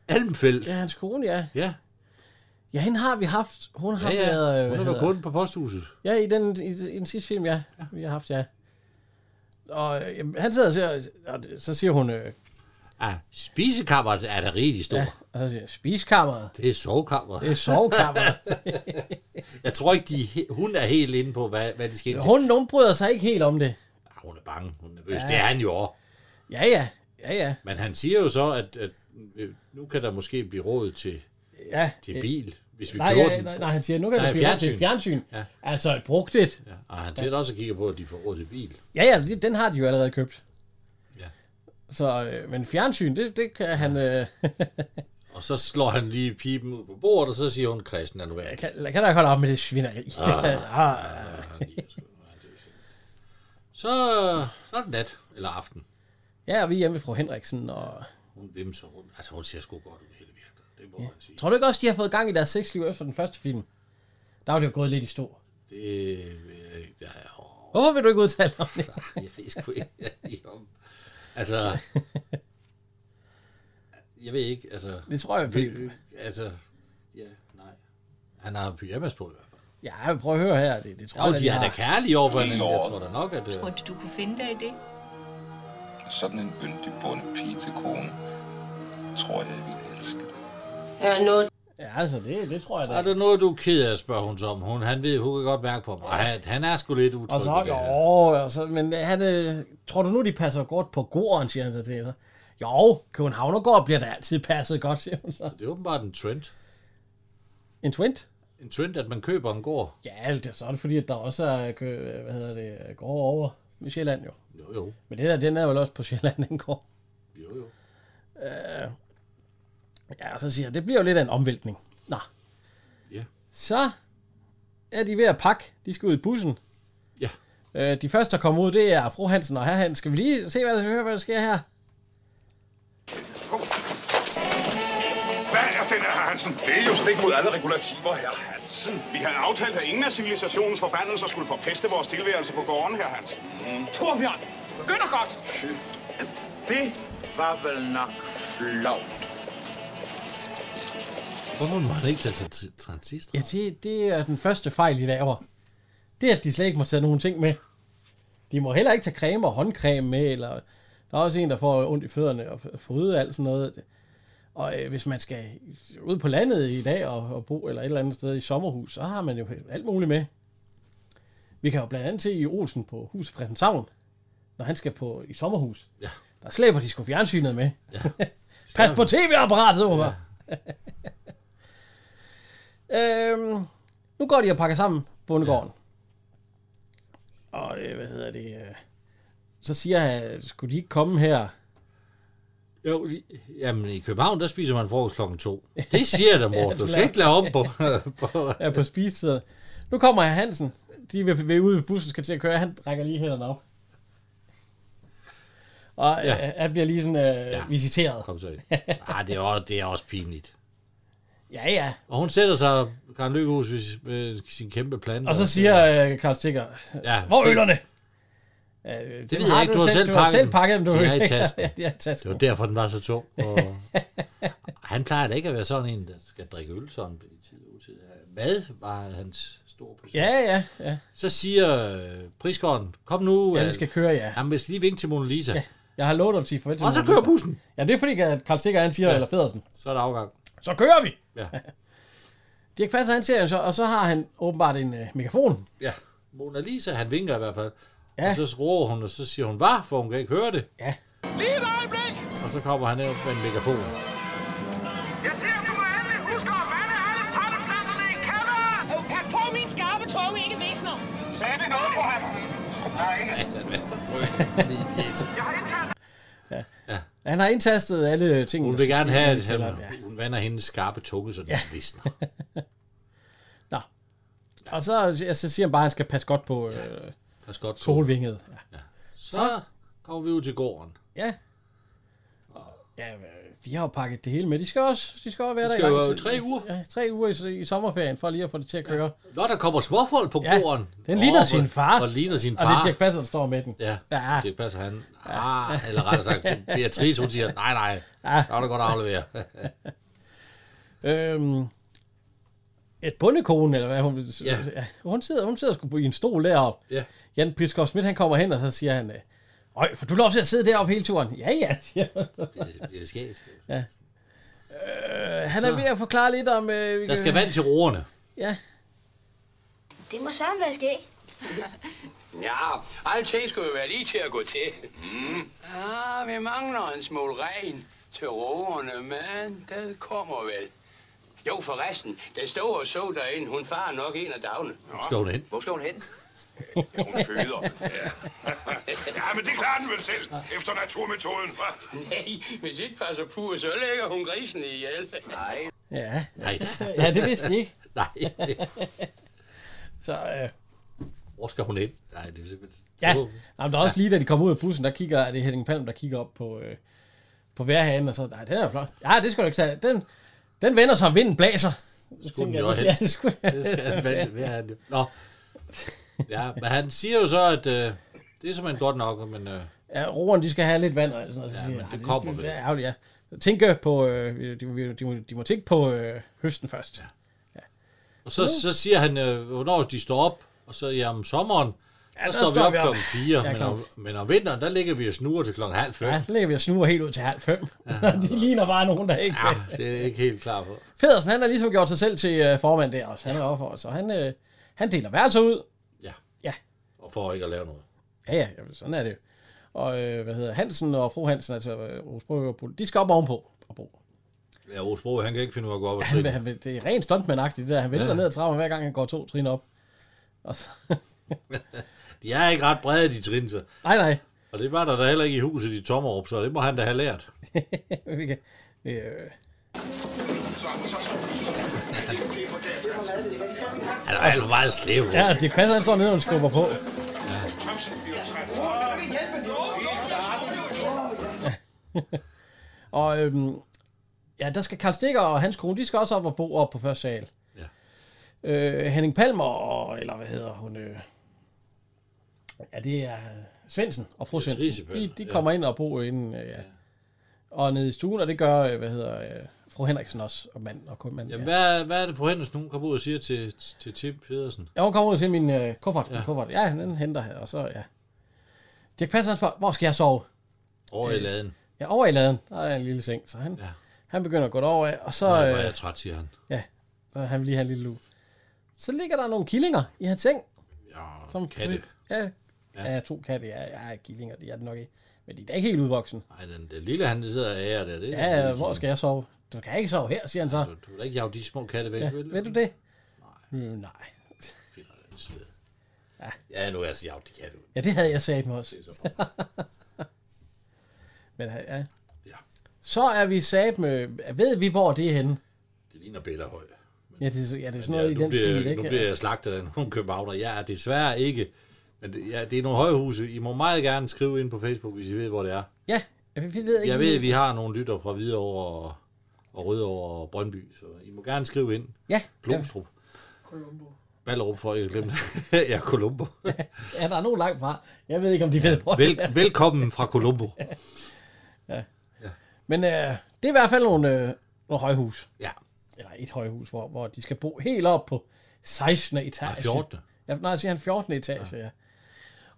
Almfeldt. Ja, Ja. hans kone, ja. Ja, Ja, hende har vi haft. Hun har ja, ja. været... øh, hvad Hun hedder- var kunden på posthuset. Ja, i den, i, i den sidste film, ja. Vi har haft, ja. Og øh, jamen, han sidder og siger, og det- så siger hun, øh, Ja, spisekammeret er da rigtig stor. ja, Ja. og så siger, jeg, spiskammeret, Det er sovekammeret. det er <laughs> sovekammeret. Jeg tror ikke, de, er he- hun er helt inde på, hvad, hvad de skal ind til. Hun, hun bryder sig ikke helt om det. Ah, Hun er bange, hun er nervøs. Ja. Det er han jo også. Ja, ja, ja, ja. Men han siger jo så, at, at øh, nu kan der måske blive råd til, ja. til bil, hvis vi Nej, kører ja, den. nej, nej, han siger, nu kan Nej, du blive til fjernsyn. fjernsyn. Ja. Ja. Altså et brugt et. Ja, og han sidder også og kigger på, at de får råd til bil. Ja, ja, det- den har de jo allerede købt. Ja. Så, øh, men fjernsyn, det, det kan han... Øh, Og så slår han lige pipen ud på bordet, og så siger hun, Christen er nu væk. kan, kan da holde op med det svineri. <laughs> Ah. Så, så er det nat, eller aften. ja, og vi er hjemme ved fru Henriksen, og... Hun vimser rundt. Altså, hun ser sgu godt ud i hele virket. Det må man sige. Tror du ikke også, de har fået gang i deres sexliv efter den første film? Der var det jo gået lidt i stå. Det, øh, der er jo... Hvorfor vil du ikke udtale dig om <laughs> det? Jeg ved sgu ikke lige om. Altså... Jeg ved ikke, altså... Det tror jeg, fordi... Altså... Ja, nej. Han har pyjamas på i hvert fald. Ja, prøv at høre her. Det, det tror Jo, jeg, de er da kærlige overfor hinanden. Jeg Lord. tror da nok, at... øh, du kunne finde dig i det? Sådan en yndig bonde pige til kone, tror jeg, jeg ville elske. Ja, noget Ja, altså, det, det tror jeg da. Er der noget, du er ked af, spørger hun så om. Hun, han ved, hun kan godt mærke på mig. Og han, han er sgu lidt utryg. Og så, ved det her. jo, og så, men han, øh, tror du nu, de passer godt på gården, siger han så til hende. Jo, Københavnergård bliver da altid passet godt, siger hun så. Det er åbenbart en trend. En twint? En trend, at man køber en gård. Ja, det, så er det fordi, at der også er, kø- hvad hedder det, går over i Sjælland jo. Jo, jo. Men det der, den er jo også på Sjælland, den går. jo, jo. Ja, og så siger jeg, det bliver jo lidt af en omvæltning. Nå. Ja. Så er de ved at pakke. De skal ud i bussen. Ja. Øh, de første, der kommer ud, det er fru Hansen og herr Hansen. Skal vi lige se, hvad der, høre, hvad der sker her? Hvad er den her Hansen? Det er jo stik mod alle regulativer, her Hansen. Vi havde aftalt, at ingen af civilisationens forbandelser skulle forpeste vores tilværelse på gården, her Hansen. Torbjørn, begynder godt. Det var vel nok flovt. Hvorfor må han ikke tage til til transistor? Ja, det, det er den første fejl, de laver. Det er, at de slet ikke må tage nogen ting med. De må heller ikke tage creme og håndcreme med, eller der er også en, der får ondt i fødderne og f- fryde og alt sådan noget. Og øh, hvis man skal ud på landet i dag og, og bo eller et eller andet sted i sommerhus, så har man jo alt muligt med. Vi kan jo blandt andet se i Olsen på huset Christianshavn, når han skal på i sommerhus. Ja. Der slæber de sgu fjernsynet med. Ja. <laughs> Pas på tv-apparatet, Omar! Ja. Øhm, nu går de og pakker sammen bondegården. Ja. Og øh, hvad hedder det? Øh, så siger han, skulle de ikke komme her? Jo, i- jamen i København, der spiser man frokost klokken to. Det siger <laughs> der, mor. Du skal ikke lave om på... <laughs> på Ja, på spisetiden. Nu kommer herr Hansen. De vil, vil ude i bussen, skal til at køre. Han rækker lige hænderne op. Og ja. Ja. øh, han bliver lige sådan øh, ja. visiteret. Kom så ind. Ah, det er, også, det er også pinligt. Ja, ja. Og hun sætter sig, Karen Lykkehus, hvis- med sin kæmpe plante. Og så siger øh, Karl Stikker, Ja, hvor er stik. øllerne? Øh, det ved jeg ikke. Du har selv du har pakket selv dem. pakket dem. Du De er i ikke- tasken. <laughs> ja, det er i tasken. Det var derfor, den var så tung. Og... <laughs> han plejer da ikke at være sådan en, der skal drikke øl sådan i tid og utid. Mad var hans store passion. Ja, ja, ja. Så siger øh, Prisgården, kom nu. Ja, Alf. det skal køre, ja. Han vil lige vinke til Mona Lisa. Ja. Jeg har lovet at sige farvel til Og så Mogens kører Jensen. bussen. Ja, det er fordi, at Karl Stikker, han siger, ja. eller Federsen, Så er der afgang. så kører vi! Ja. Dirk Passer, han ser jo så, og så har han åbenbart en øh, mikrofon. ja. Mona Lisa, han vinker i hvert fald. Ja. Ja. Og så råber hun, og så siger hun, hvad? For hun kan ikke høre det. Ja. Lige et øjeblik! Og så kommer han ind med en megafon. Jeg ser, at du må endelig huske at vande alle potteplanterne i kælderen! Oh, pas på, min skarpe tunge ikke visner. Sagde det noget for ham? Nej, Satan, hvad? Fordi, yes. jeg har indtalt Han har indtastet alle ting. Hun vil gerne have, at Ja. han, hun vander hendes skarpe tunge, så den ja. visner. Nå. Og så, ja, så siger han bare, at han skal passe godt på øh, Det er godt. Sol. solvinget. Ja. Så kommer vi ud til gården. Ja. Ja, øh, de har jo pakket det hele med. De skal også, de skal også være Det der skal i jo lang være tid. tre uger. Ja, tre uger i, i sommerferien, for lige at få det til at køre. Ja. Nå, der kommer småfolk på Ja, gården. den ligner Åh, hvor- sin far. Og ligner sin Og det er far. Dirk Passer, der står med den. Ja, Ja. ja, det passer han. Ah, eller rettere sagt, så Beatrice, hun siger, nej, nej, der er du godt at aflevere. Øhm, et bondekone, eller hvad hun... Ja. Ja. Hun sidder, hun sidder sgu på- i en stol deroppe. ja. Jan Piskov Schmidt, han kommer hen, og så siger han, øh, Øj, får du lov til at sidde deroppe hele turen? Ja, ja, siger han. Det, det er sket. Øh, Han er ved at forklare lidt om... Øh, vi Der kan- skal vand til roerne. Ja, Det må sammen være ske. Ja, alting skulle jo være lige til at gå til. Mm. Ah, vi mangler en smule regn til roerne, men det kommer vel. Jo, forresten, den stod og så derinde. Hun farer nok en af dagene. Nu skal hun hen. Hvor skal hun hen? Hun føder. Ja. ja, men det klarer den vel selv, efter naturmetoden. hva? Nej, hvis ikke passer på, så lægger hun grisen ihjel. Nej, ja. Nej, da- ja det vidste de ikke. nej. Så, øh, Hvor skal hun hen? Nej, det er simpelthen... ja. Åh, Jamen, der er også lige, da de kommer ud af bussen, der kigger, er det Henning Palm, der kigger op på, øh, på værhanen, og så, nej, den er jo flot. Ja, det skal du ikke sige. Den, den vender sig, om vinden blæser. Skulle den Tænker jo jeg, helst. Ja, det skulle Det skal vand, hvad er det? Nå. Ja, men han siger jo så, at øh, det er simpelthen godt nok, men øh, Ja, roeren, de skal have lidt vand og alt sådan noget. Så Ja, siger men jeg, det "Ej, kommer det, vel." det er ærgerligt, ja. Tænk øh, på, øh, de, må- de, må, de må tænke på øh, høsten først. Ja. og så, så siger han, øh, hvornår de står op, og så ja, om sommeren, ja, der, står vi op, klokken 4, Ja, men klart. om, men om vinteren, der ligger vi og snuger til klokken halv fem. Ja, Ja. så ligger vi og snuer helt ud til halv fem. <laughs> de ligner bare nogen, der ikke... Ja. det er jeg ikke helt klar på. Federsen, han har ligesom gjort sig selv til øh, formand der også. Han er overfor, så han, øh, han deler værelser ud. Ja. Ja. Og for ikke at lave noget. Ja, ja, jamen, sådan er det jo. Og øh, hvad hedder Hansen og fru Hansen, altså øh, Rose Brøgger og Bull, de skal op ovenpå og bo. Ja, Osbro, han kan ikke finde ud af at gå op og Han, vil- trille. han, vil- det er rent stuntmandagtigt, det der. Han vælter ja. Ja. ned ad trappen, hver gang han går to trin op. Og så, <laughs> De er ikke ret brede, de trin, så. nej, nej. <laughs> Og det var der da heller ikke i huset i Tommerup, så det må han da have lært. Vi kan, øh, Han er alt for meget slev. ja, det passer, han står nede, og han skubber på. Og øhm, ja, der skal Karl Stikker og hans kone, de skal også op og bo op på første sal. Ja. Øh, Henning Palmer, og, eller hvad hedder hun? Øh, ja, det er Svendsen og fru Det er Svendsen. Trise De, Palmer, de ja. kommer ind og bor inden, øh, ja. Og nede i stuen, og det gør, øh, hvad hedder, øh, fru Henriksen også, og mand og kun mand. Jamen, Ja. hvad, hvad er det for Henderson, hun kommer ud og siger til, til Tim Pedersen? Ja, hun kommer ud til min øh, kuffert, ja. kuffert. Ja, den henter han, og så, ja. Dirk Passer, han spørger, hvor skal jeg sove? Over Øh, i laden. Ja, over i laden, der er en lille seng, så han, ja. Ja. han begynder at gå derover af, og så, Nej, øh, hvor er jeg træt, siger han. ja, så han vil lige have en lille lue. Så ligger der nogle killinger i hans seng. Ja, Som Som katte. Ja, ja. ja, to katte, ja, ja, killinger, de er det nok ikke. Men de er da ikke helt udvoksne. Nej, den, den lille han, der sidder og ærer der. Det er ligesom Ja, ja, sådan- hvor skal jeg sove? Du kan ikke sove her, siger han så. Du, du vil da ikke jage de små katte væk, ja, vil du? Ved du det? Nej. Mm, nej. Finder du et sted. Ja. ja, nu er jeg så jagt de katte ud. Ja, det havde jeg sagt mig også. Det er så fint. Men ja. Ja. Så er vi sat med, ved vi hvor det er henne? Det ligner Bellerhøj. Ja, det, er så- ja, det er sådan Ja, noget ja, i nu, den bliver, stil, ikke? Altså. nu bliver jeg slagtet af nogle københavner. Jeg er desværre ikke. Men det, ja, det er nogle højhuse. I må meget gerne skrive ind på Facebook, hvis I ved, hvor det er. Ja, jeg ved, ved ikke Jeg ved, lige- at vi har nogle lytter fra Hvidovre og, og Rødovre og Brøndby, så I må gerne skrive ind. Ja, ja, Glostrup. Columbo. Ballerup, for ikke at glemme det. <laughs> ja, <laughs> Columbo. ja, der er nogen langt fra. Jeg ved ikke, om de ved, hvor det Vel, er. velkommen fra Columbo. Men øh, det er i hvert fald nogle, øh, nogle højhus. Ja, Eller et højhus, hvor, hvor de skal bo helt op på 16. etage. fra 14. Ja, nej, siger han 14. etage, ja.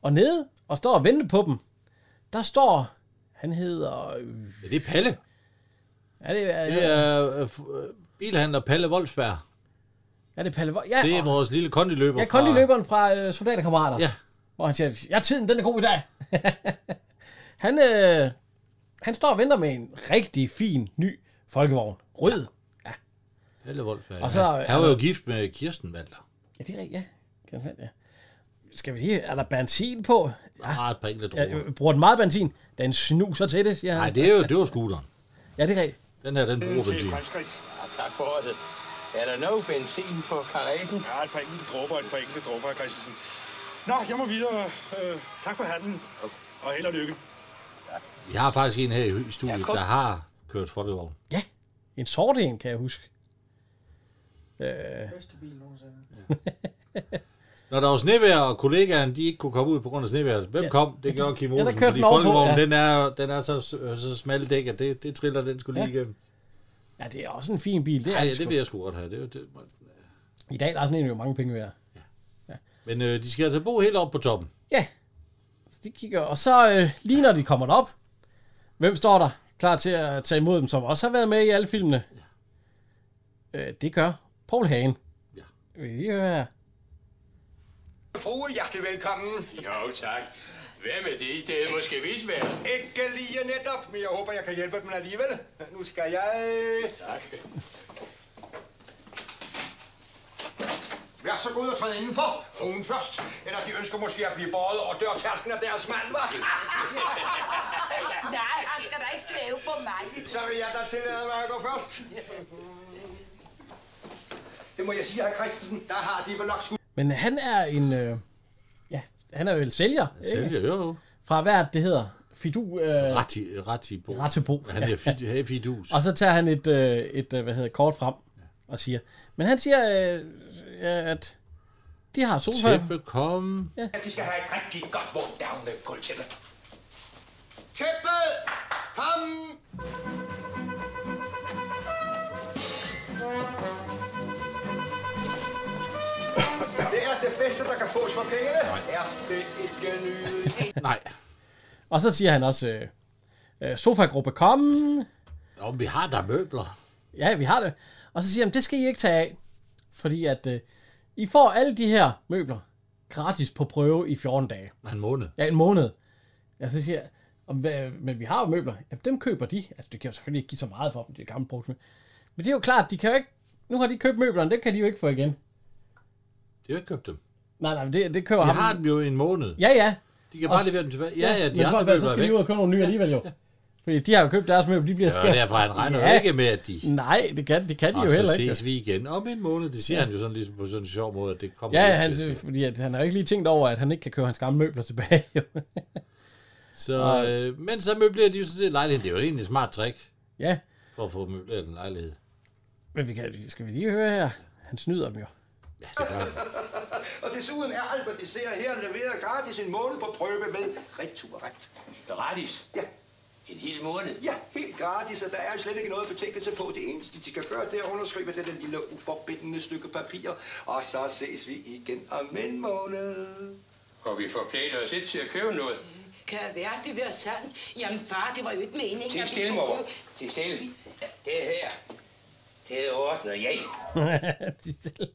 Og nede og står og venter på dem, der står Han hedder... øh, Ja, det er Palle. Er det, er, Det er, er øh, f- øh, bilhandler Palle Wolfsberg. er det Palle Vold? Ja, Det er og- vores lille kondiløber. ja fra- kondiløberen fra øh, Soldaterkammerater. Ja, Hvor han siger, ja, tiden den er god i dag. <laughs> han, øh, han står og venter med en rigtig fin, ny folkevogn. Rød. Ja, Palle Wolfsberg. Og så- øh, ja. Han var jo gift med Kirsten Valder. ja det er rigtigt, ja. Kan man- ja. Skal vi lige... Er der benzin på? Der har et par enkelte Ja, droger. øh, bruger den meget benzin? Den snuser til det, siger Nej, han. det er jo, det var scooteren. Ja, det er rigtigt. Den her, den bruger Til benzin. fremskridt. Ja, tak for det. Er der noget benzin på karetten? Ja, et par enkelte dråber, et par enkelte dråber, hr. Christensen. Nå, jeg må videre. Øh, tak for handlen. Og held og lykke. Vi har faktisk en her i studiet, Ja, kom. der har kørt folkevogn. Ja, en sort en, kan jeg huske. Når der var snevejr, og kollegaerne de ikke kunne komme ud på grund af snevejr, hvem ja. kom? Det gjorde Kim Ja, der Olsen, kørte fordi den ovenpå, folkevognen, ja. den er, den er så, så smal dæk, at det, det triller den skulle lige Ja. igennem. Ja, det er også en fin bil. Det er Ja, Ej, ja, det vil jeg sgu godt have. Det, er jo- det, I dag der er sådan en jo mange penge værd. men øh, de skal altså bo helt op på toppen. Ja. Så de kigger, og så øh, lige når de kommer op, hvem står der klar til at tage imod dem, som også har været med i alle filmene? Øh, det gør Paul Hagen. Ja. Vil I høre her? Fru, hjertelig velkommen. Jo, tak. Hvem er det? Det er måske visvær. Ikke lige netop, men jeg håber, jeg kan hjælpe dem alligevel. Nu skal jeg... øh, Tak. Vær så god at træde indenfor. Fruen først. Eller de ønsker måske at blive båret over dørtasken af deres mand, hva? <laughs> Nej, han skal da ikke slæve på mig. Så vil jeg da tillade mig at gå <laughs> først. Det må jeg sige, herr Christensen. Der har de vel nok skudt. Men han er en... Øh, ja, han er jo en sælger. Ikke? Sælger, jo, jo. Fra hvad er det, det hedder? Fidu... Øh, Ret i, ret i bo. Ratebo. Han er fit, happy dus. Og så tager han et, øh, et øh, hvad hedder, kort frem og siger... Men han siger, øh, øh, at de har sofa. Tæppe, kom. De skal have et rigtig godt vågen down med kultæppe. Tæppet! Kom! Det er det bedste, der kan fås for pengene. Ja, det er ikke nydeligt. Nej. Og så siger han også... Øh, øh, sofagruppe kom. Nå, men vi har der møbler. Ja, vi har det. Og så siger han, det skal I ikke tage af. Fordi at øh, I får alle de her møbler gratis på prøve i 14 dage. En måned. Ja, en måned. Ja, så siger jeg, "Og hvad- men vi har jo møbler. Jamen, dem køber de. Altså, det kan jo selvfølgelig ikke give så meget for dem, det er gamle brugt. Men det er jo klart, de kan jo ikke... Nu har de købt møblerne, det kan de jo ikke få igen. De har ikke købt dem. Nej, nej, men det, det køber De ham. har dem jo i en måned. Ja, ja. De kan bare Også- levere dem tilbage. Ja, ja, de men andre for, så møbler er skal de væk. ud og købe nogle nye alligevel jo. Fordi de har jo købt deres møbler, de bliver Ja, skært. og derfor han regner jo Ja. ikke med, at de... Nej, det kan, det kan de Og jo så heller ikke. ses vi igen om en måned. Det siger han jo sådan ligesom på sådan en sjov måde, at det kommer Ja, lidt han, til. fordi at han har jo ikke lige tænkt over, at han ikke kan køre hans gamle møbler tilbage. <laughs> jo. Så, øh, men så møblerer de jo sådan set lejligheden. Det er jo egentlig et smart trick ja, for at få møbleret en lejlighed. men vi kan, skal vi lige høre her? Han snyder dem jo. <laughs> Ja, det gør han. Og desuden er alt, hvad de ser her, leveret gratis en måned på prøve med returret. Gratis. Ja, En hel måned. ja, helt gratis, og der er slet ikke noget betingelse på. Det eneste, de skal gøre, det er at underskrive det den lille uforbindende stykke papir. Og så ses vi igen om en måned. Og vi forplæter os ikke til at købe noget. Kan det være, det var sandt? Jamen far, det var jo ikke meningen, Til at vi stille, skulle mor. købe- Til stille. Det her. Det ordner jeg. De stille.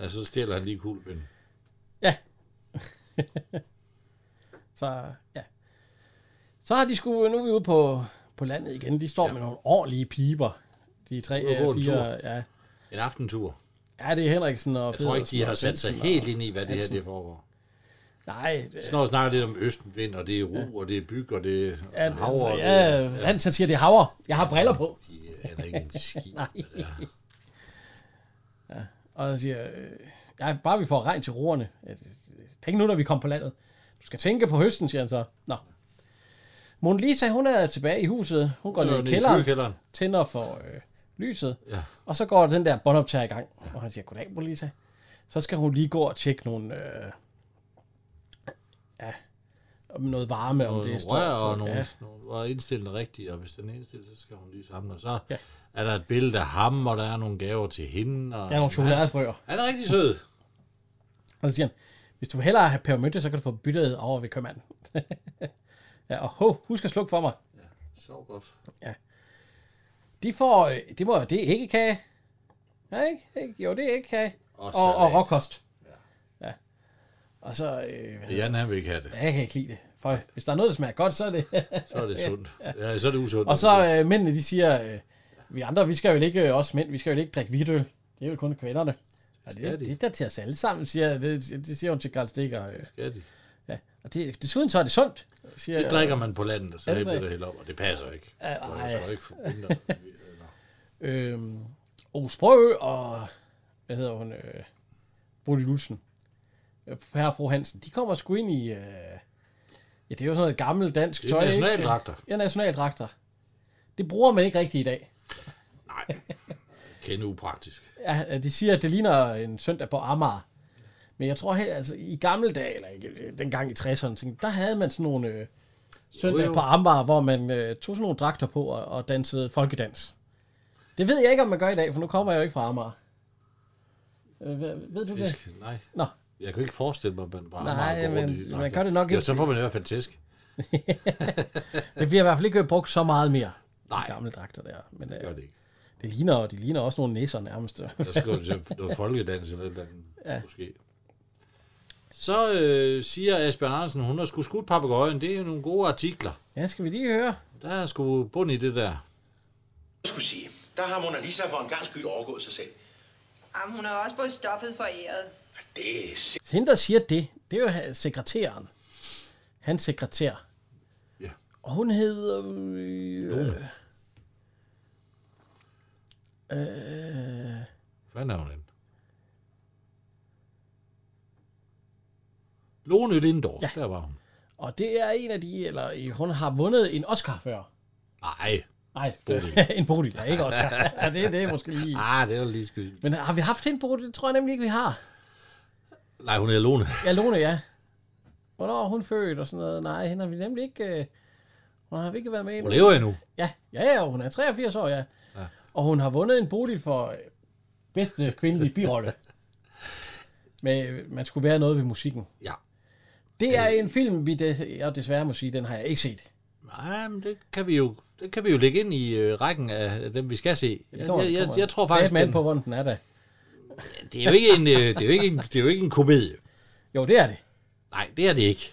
Ja, så stjæler han lige kuglepinden. ja. <laughs> så, ja. Så har de sgu, nu er vi ude på, på landet igen. De står ja. med nogle ordentlige piber. De tre, Ude at gå øh, en fire, ja. En aftentur. Ja, det er Henriksen og Jeg tror ikke, Feddersen de og har sat sig Svendsen og- helt ind i, hvad det her det foregår. Nej, øh, De Snart snakker lidt om østenvind, og det er ro, og det er byg, og det er ja, havre. altså, og det- ja, han så siger, det er havre. Jeg har briller på. De er ikke en <laughs> skid. Ja. Og så siger, øh, ja, bare vi får regn til roerne. Øh, Tænk nu, når vi kommer på landet. Du skal tænke på høsten, siger han så. Nå. Mona Lisa, hun er tilbage i huset. Hun går Nå, ned ned i i kælderen, kølekælderen. tænder for øh, lyset. Ja. Og så går den der båndoptager i gang. Og han siger, goddag, Mona Lisa. Så skal hun lige gå og tjekke nogle... Øh, ja, om noget varme, om Nogle det står rør og på- nogle, Ja, nogle- og indstille den rigtigt, og hvis den er indstillet, så skal hun lige sammen. Og så Ja. er der et billede af ham, og der er nogle gaver til hende. Og der er nogle chokoladefrøer. Han er rigtig sød. Og så siger han, hvis du hellere vil have pebermynte, så kan du få byttet over ved købmanden. <laughs> Ja, og ho, husk at slukke for mig. Sov godt. De får, øh, det må det er ikke kage. Ja, ikke? ikke? Jo, det er ikke kage. Og, Og og, og salat. råkost. Ja. Og så, øh, hvad Det er Jan, han vil ikke have det. Ja, jeg kan ikke lide det. For hvis der er noget, der smager godt, så er det... <laughs> Så er det sundt. Ja, så er det usundt. og så øh, mændene, de siger, øh, vi andre, vi skal jo ikke, øh, os mænd, vi skal jo ikke drikke hvidtøl. Det er jo kun kvinderne. Og det, Skal de? det er der til os alle sammen, siger det, det siger hun til Karl Stikker. Øh. Ja, de. Ja. Og det, desuden så er det sundt, siger Det drikker man på landet, så Ja, det det bliver drikker- det helt op, og det passer ikke. Så Ja, er nej. det så ikke forbundet. Øhm, Ove Sprøø og, hvad hedder hun, øh, Bodil Lutsen, øh, herre og fru Hansen, de kommer sgu ind i, øh, ja, det er jo sådan noget gammelt dansk Det <laughs> er tøj, ikke? nationaldragter. Ja, nationaldragter. Det bruger man ikke rigtigt i dag. Nej. Kende upraktisk. Ja, øh, de siger, at det ligner en søndag på Amager. Men jeg tror, helt, altså, i gamle dage, eller ikke, øh, dengang i 60'erne, tænkte, der havde man sådan nogle øh, søndage jo. på Amager, hvor man øh, tog sådan nogle dragter på og, og dansede folkedans. Det ved jeg ikke, om man gør i dag, for nu kommer jeg jo ikke fra Amager. Øh, hvad- ved du det? Fisk. Nej. Nå, Jeg kan ikke forestille mig, at man bare Nej, bare går rundt men i man de dragter. gør det nok Ja, ikke. så får man i hvert fald tæsk. det bliver i hvert fald ikke brugt så meget mere. Nej. De gamle dragter der. Men Det gør øh, det ikke. det ligner, og de ligner også nogle næser nærmest. <laughs> Der skal jo til noget folkedans eller et eller andet, ja. måske. Så øh, siger Asbjørn Andersen, hun har sgu skudt papegøjen. Det er nogle gode artikler. ja, skal vi lige høre? Der er sgu bund i det der. Jeg skulle sige, der har Mona Lisa for en gang skyld overgået sig selv. Jamen, hun har også fået stoffet for æret. Det er sind- Hende, der siger det, det er jo ha- sekretæren. Hans sekretær. Ja. Og hun hedder... Øh, Lone. øh, Hvad er hun henne? Lone Lindor, ja. der var hun. og det er en af de... Eller øh, hun har vundet en Oscar før. Nej. Nej, Bodil. <laughs> en Bodil. Ja, ikke Oscar. ja, det, det er måske lige... Ah, det var lige skyld. Men har vi haft en Bodil? Det tror jeg nemlig ikke, vi har. Nej, hun hedder Lone. Ja, Lone, ja. Hvornår er hun født og sådan noget? Nej, hende har vi nemlig ikke... Øh, hun har vi ikke været med Hun endnu. lever endnu. Ja, ja, ja, hun er 83 år, ja. Ja. ja. Og hun har vundet en Bodil for øh, bedste kvindelige <laughs> birolle. Men øh, man skulle være noget ved musikken. Ja. Det er en film, vi des- jeg desværre må sige, den har jeg ikke set. Nej, men det kan vi jo, det kan vi jo lægge ind i øh, rækken af dem, vi skal se. Jeg, jeg, jeg, jeg tror faktisk, den... den, på, hvordan den er da. det, er jo ikke en, øh, det, er jo ikke en, det er jo ikke en komedie. Jo, det er det. Nej, det er det ikke.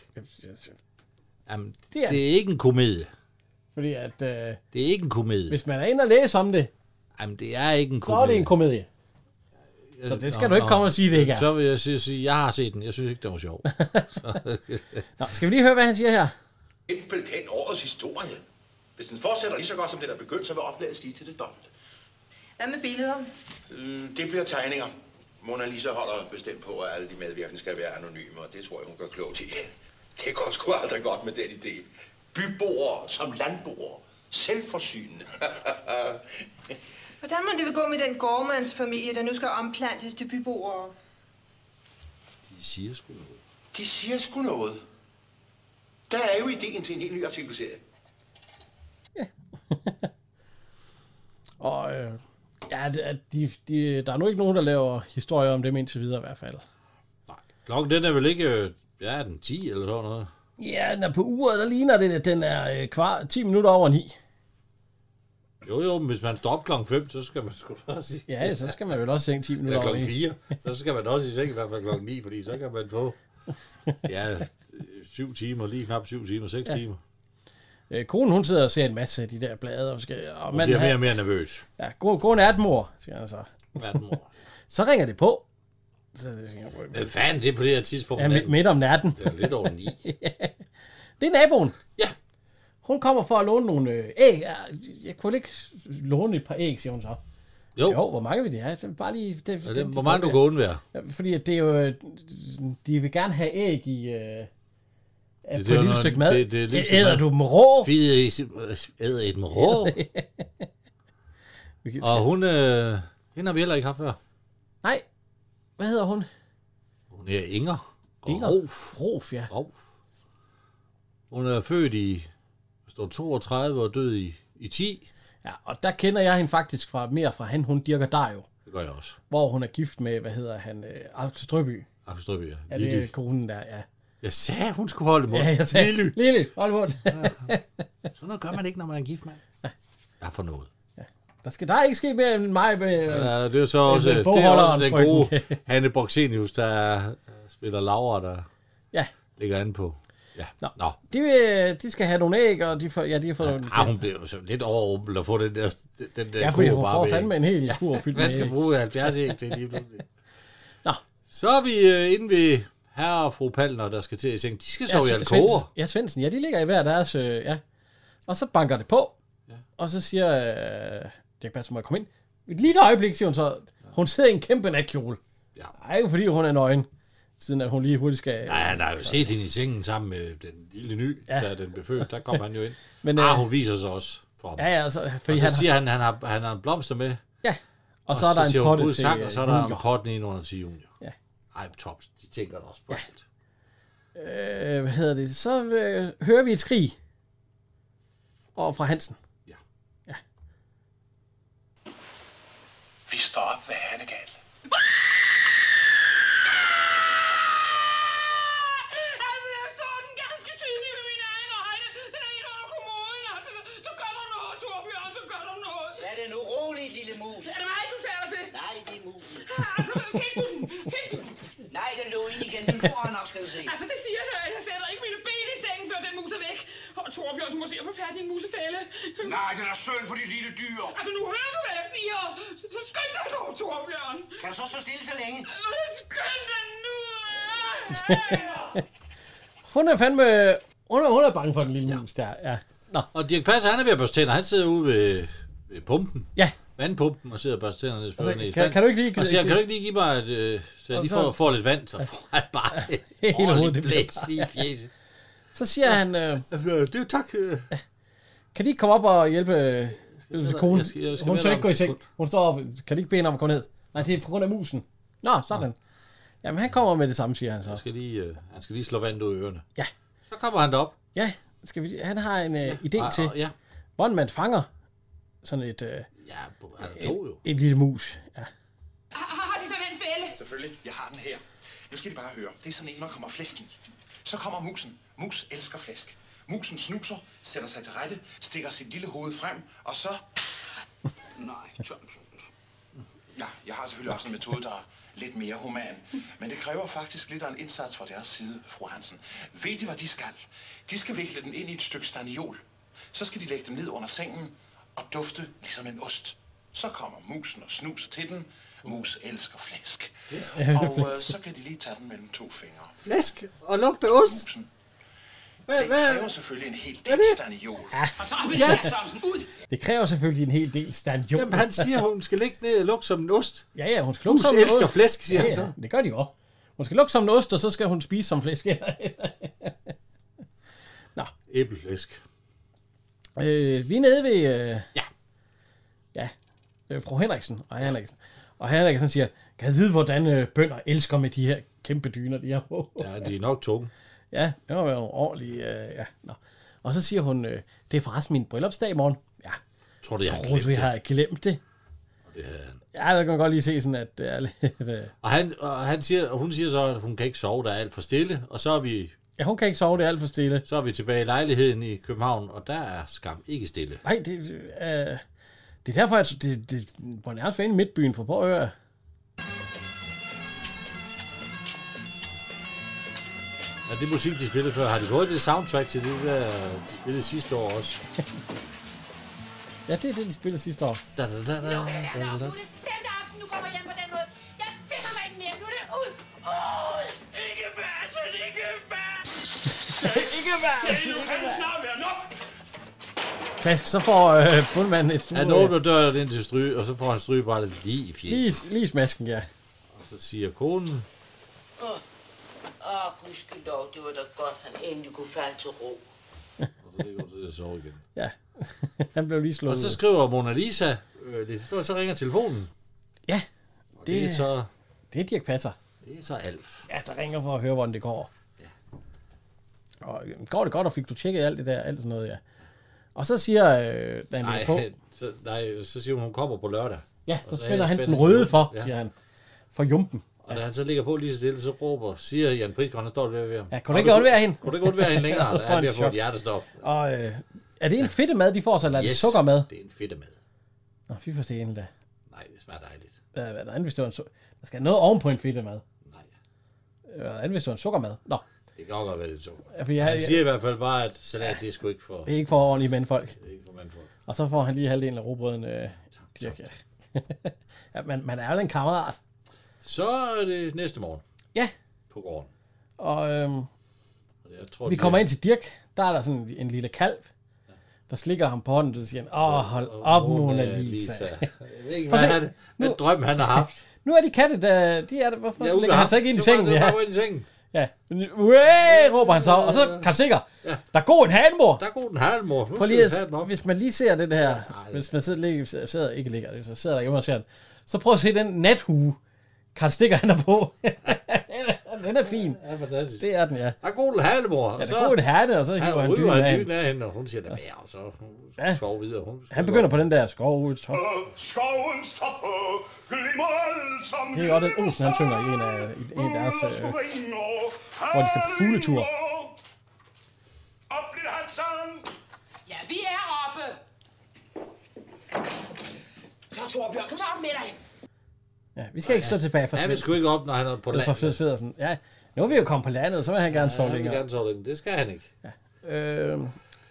Jamen, Det er det er ikke en komedie. Fordi at, øh, Det er ikke en komedie. hvis man er inde og læse om det, Jamen, det er ikke en så er komedie. det en komedie. Så det skal du ikke komme og sige, det ikke er. Så vil jeg sige, sige, jeg har set den. Jeg synes ikke, det var <laughs> sjov. Nå, skal vi lige høre, hvad han siger her? simpelthen årets historie. Hvis den fortsætter lige så godt, som den er begyndt, så vil oplaget stige til det dobbelte. Hvad med billeder? Øh, det bliver tegninger. Mona Lisa holder bestemt på, at alle de medvirkende skal være anonyme, og det tror jeg, hun gør klogt i. <laughs> Det går sgu aldrig godt med den idé. Byboere som landboere. Selvforsynende. <laughs> Hvordan må det vil gå med den gårdmandsfamilie, der nu skal omplantes til byboere? De siger sgu noget. De siger sgu noget. Der er jo ideen til en helt ny artikelserie. Og øh, ja, det er- de, de, der er nu ikke nogen, der laver historier om dem indtil videre i hvert fald. Klokken den er vel ikke... øh, Ja, er den 10 eller sådan noget? Ja, når på uret, der ligner det, at den er øh, kvar 10 minutter over 9. Jo, jo, men hvis man står op klokken 5, så skal man sgu da også i- Ja, så skal man vel også sænke 10 minutter Eller over klokken 9. 4. Så skal man også i seng i hvert fald klokken 9, fordi så kan man <laughs> få... Ja, 7 timer, lige knap 7 timer, 6 ja. timer. Øh, konen, hun sidder og ser en masse af de der blade, og, skal, og Hun man bliver mere har, og mere nervøs. ja, gå, gå en atmor, siger han så. Hvad mor? Så ringer det på. Så, det siger jeg, Hvad fanden, det er på det her tidspunkt. ja, midt, natten. midt om natten. Det er jo lidt over 9. Det er naboen. Ja. Hun kommer for at låne nogle øh, æg. Ja, Jeg kunne ikke låne et par æg, siger hun så. Jo, <laughs> Jo, hvor mange vil de have? Det er Bare lige, det, er det, hvor meget du kan undvære. Ja, Fordi at det er jo, øh, de vil gerne have æg i, øh, det, på et det er lille noget- stykke mad. det- det er et lille stykke Æder mad. du dem rå? Spide i- æder et med rå. Vi kan- Og hun, øh, hende har vi heller ikke haft før. Nej, hvad hedder hun? Hun er Inger. Inger. Rolf. Rof, ja. Rolf. Hun er født i hvad står der, 32 og død i, i 10. ja. Og der kender jeg hende faktisk fra, mere fra han, hun dirker dig jo. Det gør jeg også. Hvor hun er gift med, hvad hedder han, øh, Arthur Strøby. Axel Strøby, Ja, <laughs> det er konen der, ja. Jeg sagde, hun skulle holde munden. Ja, jeg sagde, Lille. Lille, hold mund. Sådan noget gør man ikke, når man er gift, mand. Der er for noget. <laughs> Der skal der er ikke ske mere end mig. øh, Med, Ja, det er så også, det er bogholderen, også den frøken. gode Hanne Broxenius, der øh, spiller Laura, der Ja. ligger an på. Ja, nå. nå. De, vil, de skal have nogle æg, og de får, ja, de har fået nogle... Ah, hun blev jo så lidt overrumplet at få den der, den der Ja, fordi kur hun bare får ved. fandme en hel skur fyldt med Hvad skal æg. bruge 70 æg til lige pludselig? Nå. Så er vi øh, inde ved herre og fru Palner, der skal til at seng. De skal sove i Svend- alkover. Svendsen- Ja, Svendsen, ja, de ligger i hver deres, øh, ja. Og så banker det på, ja. og så siger øh, Dirk Passer, må jeg komme ind? Et lille øjeblik, siger hun så. Hun sidder i en kæmpe natkjole. Ja. Ej, jo fordi hun er nøgen, siden at hun lige hurtigt skal... Ja, han har jo set hende i sengen sammen med den lille ny, ja. der den blev født. Der kom han jo <laughs> ind. Men, Men, ah, øh, hun viser sig også for ham. Ja, ja, så, fordi og så han han har- siger han, han har, han har en blomster med. Ja, og, så er der en siger hun, potte "Gud, til, tak, øh, og så er der en junior. pot ned under til junior. Ja. Ej, tops, de tænker da også på ja. alt. øh, hvad hedder det, så øh, hører vi et skrig. Og fra Hansen. Vi står op med Hannegal. Tag det nu roligt, lille mus. Er det mig, du taler til? Ah, Nej, det er musen. Nej, den lå ind igen. Den får han nok, skal du se. Altså, det siger jeg. Jeg sætter ikke mine ben i sengen, før den mus er væk. Og Torbjørn, du må se at få fat i en musefælde. Nej, det er synd for de lille dyr. Altså, nu hører du, hvad jeg siger. Så, så skynd dig dog, Torbjørn. Kan du så stå stille så længe? Skynd dig nu. hun er fandme... Hun er, hun er bange for den lille mus der, ja. Nå. Og Dirk Passer, han er ved at børste tænder. Han sidder ude ved, ved pumpen. Ja. Vandpumpen og sidder og børster tænderne. Altså, Altså, kan- kan du ikke lige- Og siger, kan du ikke lige give mig et... Øh, så jeg Og lige så- får, får lidt vand, så får jeg bare <laughs> et Hele hovedet ordentligt bliver blæs lige i fjeset. Så siger ja. han... Øh, det er jo tak. Øh. Kan de ikke komme op og hjælpe øh, øh, skal- konen? jeg skal- jeg skal Hun med tør dig ikke om gå i et seng. Hun står op. Kan de ikke bede hende om at gå ned? Nej, det er på grund af musen. Nå, sådan. Jamen, han kommer med det samme, siger han Han så. skal lige, øh, han skal lige slå vand ud af ørerne. Ja. Så kommer han derop. Ja, skal vi, han har en øh, idé og- til, og- ja. hvordan man fanger sådan et, øh, Ja, på- han er to jo. et lille mus. Ja. Har, har de sådan en fælde? Selvfølgelig, jeg har den her. Nu skal de bare høre. Det er sådan en, man kommer flæsk i. Så kommer musen. Mus elsker flæsk. Musen snuser, sætter sig til rette, stikker sit lille hoved frem, og så... Nej, Thompson. Ja, jeg har selvfølgelig også en metode, der er lidt mere human. Men det kræver faktisk lidt af en indsats fra deres side, fru Hansen. Ved de, hvad de skal? De skal vikle dem ind i et stykke staniol. Så skal de lægge dem ned under sengen og dufte ligesom en ost. Så kommer musen og snuser til den. Mus elsker flæsk. Og øh, så kan de lige tage den mellem to fingre. Flæsk og lugter ost. Det kræver selvfølgelig en hel del staniol. Og så op i Ja. ja. Thomsen. Ud. Det kræver selvfølgelig en hel del stand. Jamen, han siger, hun skal ligge ned og lugte som en ost. Ja, ja, hun skal Mus lukke som en elsker ost. flæsk, siger ja, han Ja, det gør de jo. Hun skal lukke som en ost, og så skal hun spise som flæsk. <laughs> Æbleflæsk. Øh, vi er nede ved... Øh, ja. Ja. Øh, fru Henriksen og herr Henriksen. Og herr Henriksen siger, kan jeg vide, hvordan øh, bønder elsker med de her kæmpe dyner, de har på? <laughs> Ja, de er nok tunge. Ja, det var jo ordentligt. Øh, ja. Nå. Og så siger hun, øh, det er forresten min bryllupsdag i morgen. Ja, Tror du, jeg har tror glemt du, jeg det? har glemt det? Og det havde han. Ja, der kan man godt lige se sådan, at det er lidt... Øh, Og, han, og han siger, og hun siger så, at hun kan ikke sove, der er alt for stille. Og så er vi, ja, hun kan ikke sove, det er alt for stille. så er vi tilbage i lejligheden i København, og der er skam ikke stille. Nej, det, øh, det er derfor, at det, det, på nærmest for inde i midtbyen, for prøv at høre. Og det musik, de spillede før, har de fået det soundtrack til det, der de spillede sidste år også? Ja, det er det, de spillede sidste år. Da, da, da, da, da, da. Den aften, du kommer hjem på den måde. Jeg finder mig ikke mere. Nu er det ud. Ud! Ikke Bassel, ikke Bassel. Ikke værd. Nej, nu kan det snart være nok. Flask, så får øh, bundmanden et... Han åbner døren ind til stry, og så får han strygebrættet lige i fjes. Lige, lige smasken, ja. Og så siger konen, Åh, oh, gudskelov, det var da godt, han endelig kunne falde til ro. og så ligger hun til at sove igen. Ja, <laughs> han blev lige slået Og så ud. skriver Mona Lisa, øh, det, så, så ringer telefonen. Ja, Og det, det, er så, Det er Dirk Passer. det er så Alf. Ja, der ringer for at høre, hvordan det går. Ja. Og øh, går det godt, og fik du tjekket alt det der, alt sådan noget, ja. Og så siger øh, da han Nej, lægger på, så, nej, så siger hun, hun kommer på lørdag. ja, Og så er spiller jeg han spændt. den røde for, Ja. ja. siger han, for jumpen. Og Og da han så ligger på lige så stille, så råber, siger Jan Prisgaard, han står der ved ham. Ja, kunne du ikke undvære hende? Kunne du ikke undvære hende <laughs> længere? Får Da han en bliver fået chok. et hjertestop. Og øh, er det en fedt mad, de får, så eller er det Yes, sukker med? Det er en fedt mad. Nå, fy for det endda. Nej, det smager dejligt. Der er noget andet, hvis det var en su- Der skal noget ovenpå en fedt mad. Nej. Der er noget andet, hvis det var en sukkermad. Nå, Det kan også godt være lidt så. Ja, for jeg- han siger i hvert fald bare, at salat, det er sgu ikke for... det er ikke for ordentlige mandfolk. Det er ikke for mandfolk. Og så får han lige halvdelen af robrøden. Øh, cirka. <laughs> ja, man, man er jo en kammerat. Så er det næste morgen. Ja. På gården. Og øhm, Jeg tror, vi de kommer er- ind til Dirk. Der er der sådan en lille kalv, der slikker ham på hånden, og så siger han, åh, hold op, Mona Lisa. Jeg <laughs> ved ikke, Prøv hvad, at se, han, hvad drøm han har haft. nu er de katte, der, de er der, hvorfor Ja, ja, ud ligger med han ham. så ikke ind i Så var- sengen? så var Ja. han ude i sengen. Ja. Uæh, råber han så, og så kan sikker, der er god en halmor. Der er god en halmor. Nu Prøv skal lige, vi tage at, hvis man lige ser det her, ja, hvis man sidder, ligger, sidder ikke ligger, hvis man sidder derhjemme og ser den, så prøv at se den nathue, Karl Stikker han er på. <laughs> den er fin. Ja, fantastisk. Det er den, ja. Der er god en halmor. Ja, der er god en herne, og så hiver han dynen af af hende. dynen af hende, og hun siger, der er og så hun ja. sover videre. Hun Han begynder på den der skov, top. Skoven står på, glimmer alt som Det er jo også den Olsen, han synger i en af, i en af deres, øh, hvor de skal på fugletur. Op bliver han sådan. Ja, vi er oppe. Så Torbjørn, kom så op med dig. Ja, vi skal ikke stå tilbage for Ja, vi skulle ikke op, når han er på landet. For landet. Svend Svedersen. Ja, nu er vi jo kommet på landet, så vil han gerne Ja, sove han vil længere. gerne sove længe. Det skal han ikke. Øh,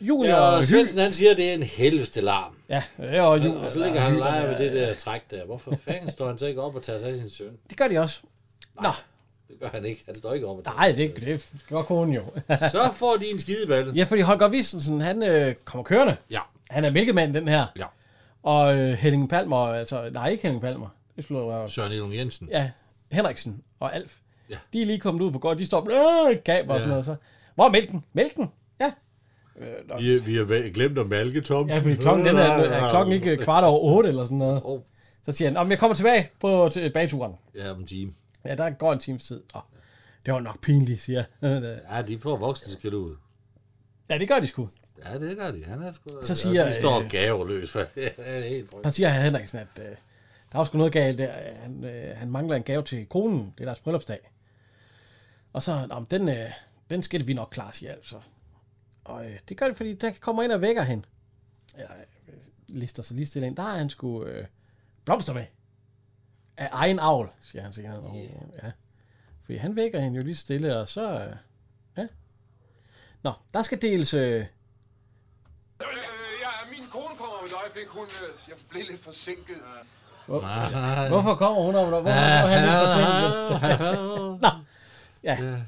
jul Ja, og og Svendsen han siger, at det er en helveste larm. Ja, det og jul. Og så ligger han og leger med det der træk der. Hvorfor fanden står han så ikke op og tager sig af sin søn? Det gør de også. Nå, Det gør han ikke. Han står ikke op og tager nej, det, det skal godt kunne jo. <laughs> Så får de en skideballe. ja, fordi Holger Wissensen, han øh, kommer kørende. Ja. Han er mælkemanden, den her. Ja. Og øh, Henning Palmer, altså, nej, ikke Henning Palmer. Det slår jeg jo. Søren Elung Jensen. Ja, Henriksen og Alf. Ja. De er lige kommet ud på gården. De står øh, gaber og Ja. sådan noget. Så. Hvor er mælken? Mælken? Ja. Øh, nå. Vi, vi har væ- glemt at malke, Tom. Ja, fordi klokken, den er, er klokken ikke kvart over otte eller sådan noget. Oh. Så siger han, om jeg kommer tilbage på tilbageturen. Ja, om en time. Ja, der går en times tid. Oh, det var nok pinligt, siger jeg. Ja, de får voksne skal ud. <laughs> Ja, det gør de sgu. Ja, det gør de. Han er sgu... Så siger, og de står øh, gaveløs. for det er helt Han frygteligt. siger han Henriksen, at øh, der var sgu noget galt der. Han, øh, han mangler en gave til konen. Det er deres bryllupsdag. Og så, om den, øh, den skal vi nok klare, siger altså. Og øh, det gør det, fordi der kommer ind og vækker hende. Eller øh, lister sig lige stille ind. Der har han sgu øh, blomster med. Af egen avl, siger han senere. Og, ja. Fordi han vækker hende jo lige stille, og så... Øh, ja. Nå, der skal deles... Øh, Øh, ja, min kone kommer om et øjeblik. Hun, øh, jeg blev lidt forsinket. Hvor, Nej. Hvorfor kommer hun om? Hvorfor er han ah, lidt forsinket? Nå, ja.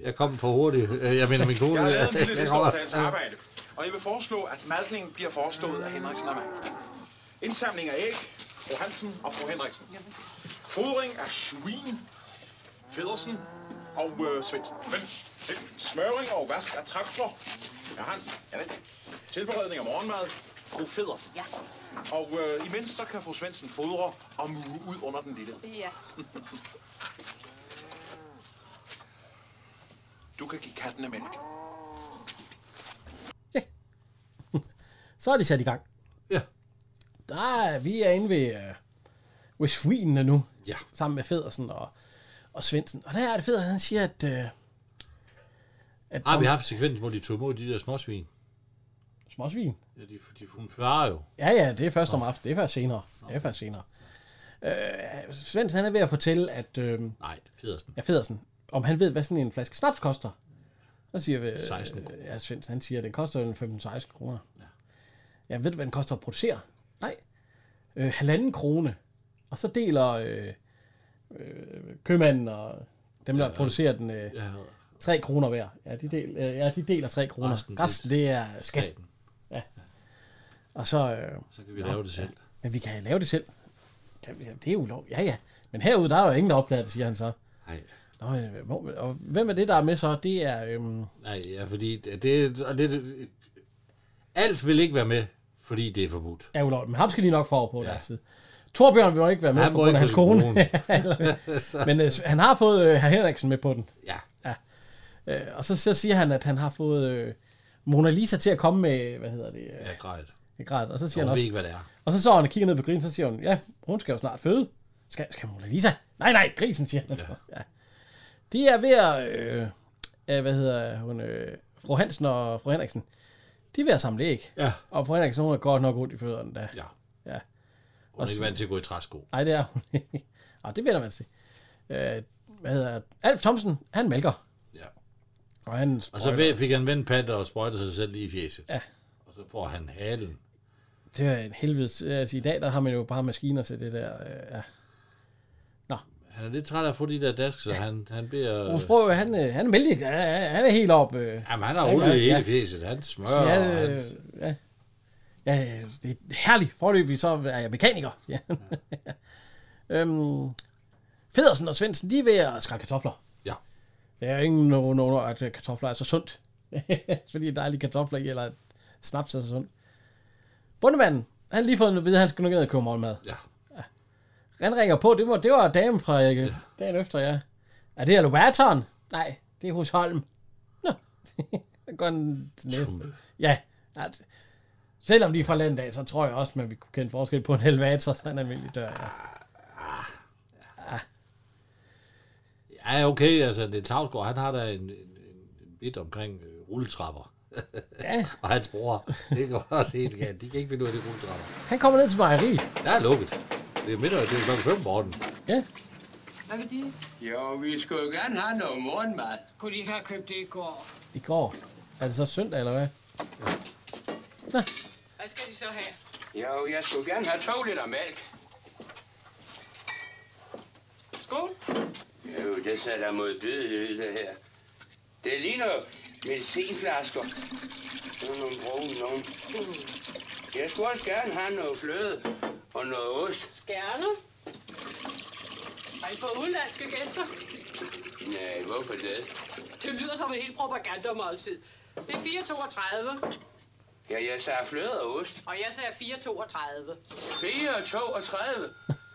Jeg kom for hurtigt. Øh, Jeg mener min kone. Jeg har lavet en lille Jeg liste over kommer- dagens arbejde, og jeg vil foreslå, at malkningen bliver forestået af Henriksen og mig. Indsamling af æg, fru Hansen og fru Henriksen. Fodring af svin, Federsen og øh, Svendsen. Svendsen. Smøring og vask af traktor. Ja, Hansen. Ja, det. Tilberedning af morgenmad, fru Federsen. Ja. Og øh, imens så kan fru Svendsen fodre og mue ud under den lille. Ja. Du kan give kattene mælk. Så er de sat i gang. Ja. Der er, vi er inde ved, øh, ved svinene nu. Ja. Sammen med Federsen og, og Svendsen. Og der er det fedt, at han siger, at... Øh, at Har Ah, vi haft sekvens, hvor de tog imod de der småsvin? Småsvin? Ja, de, de hun farer jo. Ja, ja, det er først om aftenen. Det er først senere. Det er først senere. Øh, Svendsen, han er ved at fortælle, at... Øh, Nej, Federsen. Ja, Federsen. Om han ved, hvad sådan en flaske snaps koster. Så siger vi... øh, 16 kroner. Ja, Svendsen, han siger, at den koster en 15-16 kroner. Ja. ja, ved du, hvad den koster at producere? Nej. Øh, halvanden krone. Og så deler øh, øh, købmanden og dem, der ja, producerer den, øh, ja. 3 kroner hver. Ja, de, del, øh, ja, de deler 3 kroner. Resten, Resten, Resten det- det er skat. Ja. Og så... Øh, Så kan vi lave det selv. Men vi kan lave det selv. Kan vi, det er jo lov. Ja, ja. Men herude, der er jo ingen, der opdager det, siger han så. Nej. Nå, men hvor- og hvem er det, der er med så? Det er... Øhm, Nej, ja, fordi det, det, og det, alt vil ikke være med, fordi det er <laughs> forbudt. er ulovligt, men ham skal de nok få over på ja. deres side. Torbjørn vil jo ikke være med Han på må grund af ikke hans få sin kone. <laughs> men øh, han har fået øh, herr Henriksen med på den. Ja. ja. Øh, og så, så siger han, at han har fået øh, Mona Lisa til at komme med, hvad hedder det? Øh, Ja, grejt. ja. Grad. Og så siger Hun han også, ved ikke, hvad det er. Og så så han og kigger ned på grinen, så siger hun, ja, hun skal jo snart føde. Skal, skal Mona Lisa? Nej, nej, grisen, siger han. Ja. <laughs> ja. De er ved at... Øh, øh, hvad hedder hun? Øh, fru Hansen og fru Henriksen. De er ved at samle æg. Ja. Og fru Henriksen, hun er godt nok ondt i fødderne. Da. Ja. ja. Hun er ikke vant til at gå i træsko. Nej, det er hun ikke. <laughs> Og det vender man sig. til. Øh, hvad hedder Alf Thomsen, han mælker. Ja. Og han Og så ved- fik han vendt pat og sprøjtet sig selv lige i fjeset. Ja. Og så får han halen. Det er en helvede. Altså, i dag, der har man jo bare maskiner til det der. Øh, ja. Han er lidt træt af at få de der dask, så han, han beder... Rufus Brøgh, han, øh, han er vældig, ja, ja, han er helt op. Øh, Jamen, han har rullet i hele fjeset. Han smører, Ja, og han- øh, ja. ja, ja, øh, det er herligt. Forløbig så er jeg mekaniker. Ja. <laughs> øhm, Federsen og Svendsen, de er ved at skrælle kartofler. Ja. Der er ingen nogen, no, no, at øh, kartofler er så sundt. <laughs> Fordi der er lige kartofler i, eller at snaps er så sundt. Bundemanden, han har lige fået at vide, at han skulle nok ned og købe morgenmad. Ja. Han ringer på, det var, det var damen fra ja. dagen efter, ja. Er det elevatoren? Nej, det er hos Holm. Nå, <laughs> så går den til næste. Ja, altså, selvom de er fra landet af, så tror jeg også, man vil kunne kende forskel på en elevator, så en almindelig dør. Ja. Ja, okay, altså, det er Tavsgaard, han har da en, en, en bit omkring øh, rulletrapper. <laughs> Ja. og hans bror, det kan man også helt kan. De kan ikke finde ud af de rulletrapper. Han kommer ned til mejeriet. Der er lukket. Det er middag, det er klokken 5 om morgenen. Ja. Hvad vil de? Jo, vi skulle jo gerne have noget morgenmad. Kunne de ikke have købt det i går? I går. Er det så søndag, eller hvad? <laughs> Hvad skal de så have? Jo, jeg skulle gerne have to liter mælk. Skål. Jo, det ser da modbydeligt ud, det her. Det ligner jo medicinflasker. Sådan nogle brune nogen. Jeg skulle også gerne have noget fløde og noget ost. Gerne. Har I fået udenlandske gæster? Nej, hvorfor det? Det lyder som et helt propagandamåltid. Det er 4,32, Ja, jeg sagde fløde og ost. og jeg sagde 4,32. 4 og 32.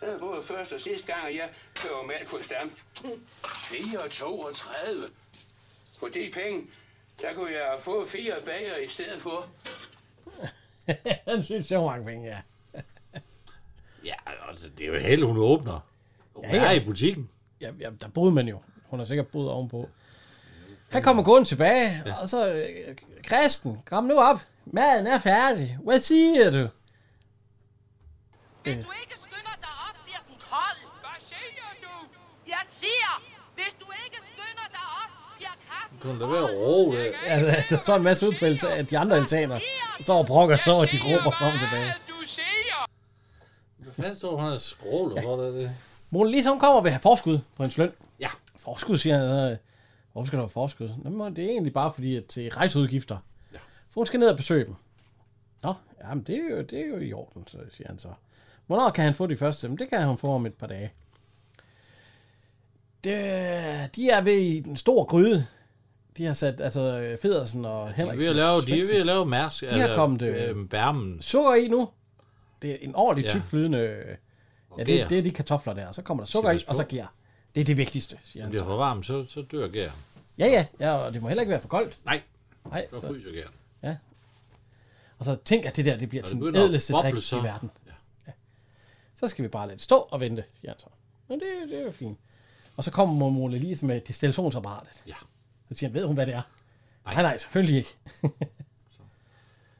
Det er både første og sidste gang, at jeg køber mælk hos dem. 4 og 32. På de penge, der kunne jeg få fire bager i stedet for. han synes, det var mange penge, ja. Ja, altså, det er jo held, hun åbner. Hun ja, ja. er i butikken. Ja, ja, der boede man jo. Hun har sikkert boet ovenpå. Han kommer gående tilbage, ja. og så... øh, Kristen, kom nu op. Maden er færdig. Hvad siger du? Øh, ikke skynder dig op, bliver den kold. Hvad siger du? Jeg siger, hvis du ikke skynder dig op, bliver kaffen Kunne da være ro, det. altså, der står en masse udpælse af de andre altaner. Der står og brokker så, og de råber frem og tilbage. Hvad fanden står hun og skråler for det? det? Mona Lisa, hun kommer og vil have forskud på hendes løn. Ja. Forskud, siger han. øh, Hvorfor skal du have forskud? Jamen, det er egentlig bare fordi, at til rejseudgifter. Ja. For hun skal ned og besøge dem. Nå, jamen, det er jo, det er jo i orden, så siger han så. Hvornår kan han få de første? Jamen, det kan han få om et par dage. Det, de er ved i den store gryde. De har sat, altså, øh, Federsen og De er Henriksen. ved at og lave, de er Svendsen. ved at lave mærsk. De har kommet, øh, øh, bærmen. sukker i nu. Det er en ordentlig Ja. tyk flydende... øh, Ja, gær. det, det er de kartofler der. Så kommer der sukker Skal i, passe og så på. gær. Det er det vigtigste, siger Som han bliver så. for varm, så, så dør gæren. Ja, ja, ja, og det må heller ikke være for koldt. Nej, Nej, så fryser gæren. Ja. Og så tænk, at det der, det bliver Og det til den begynder at ædleste boble drik så. i verden. Ja. Så skal vi bare lade det stå og vente, siger han så. Men det, det er jo fint. Og så kommer Mona Lise med destillationsapparatet. Ja. Så siger han, ved hun, hvad det er? Nej, nej, selvfølgelig ikke.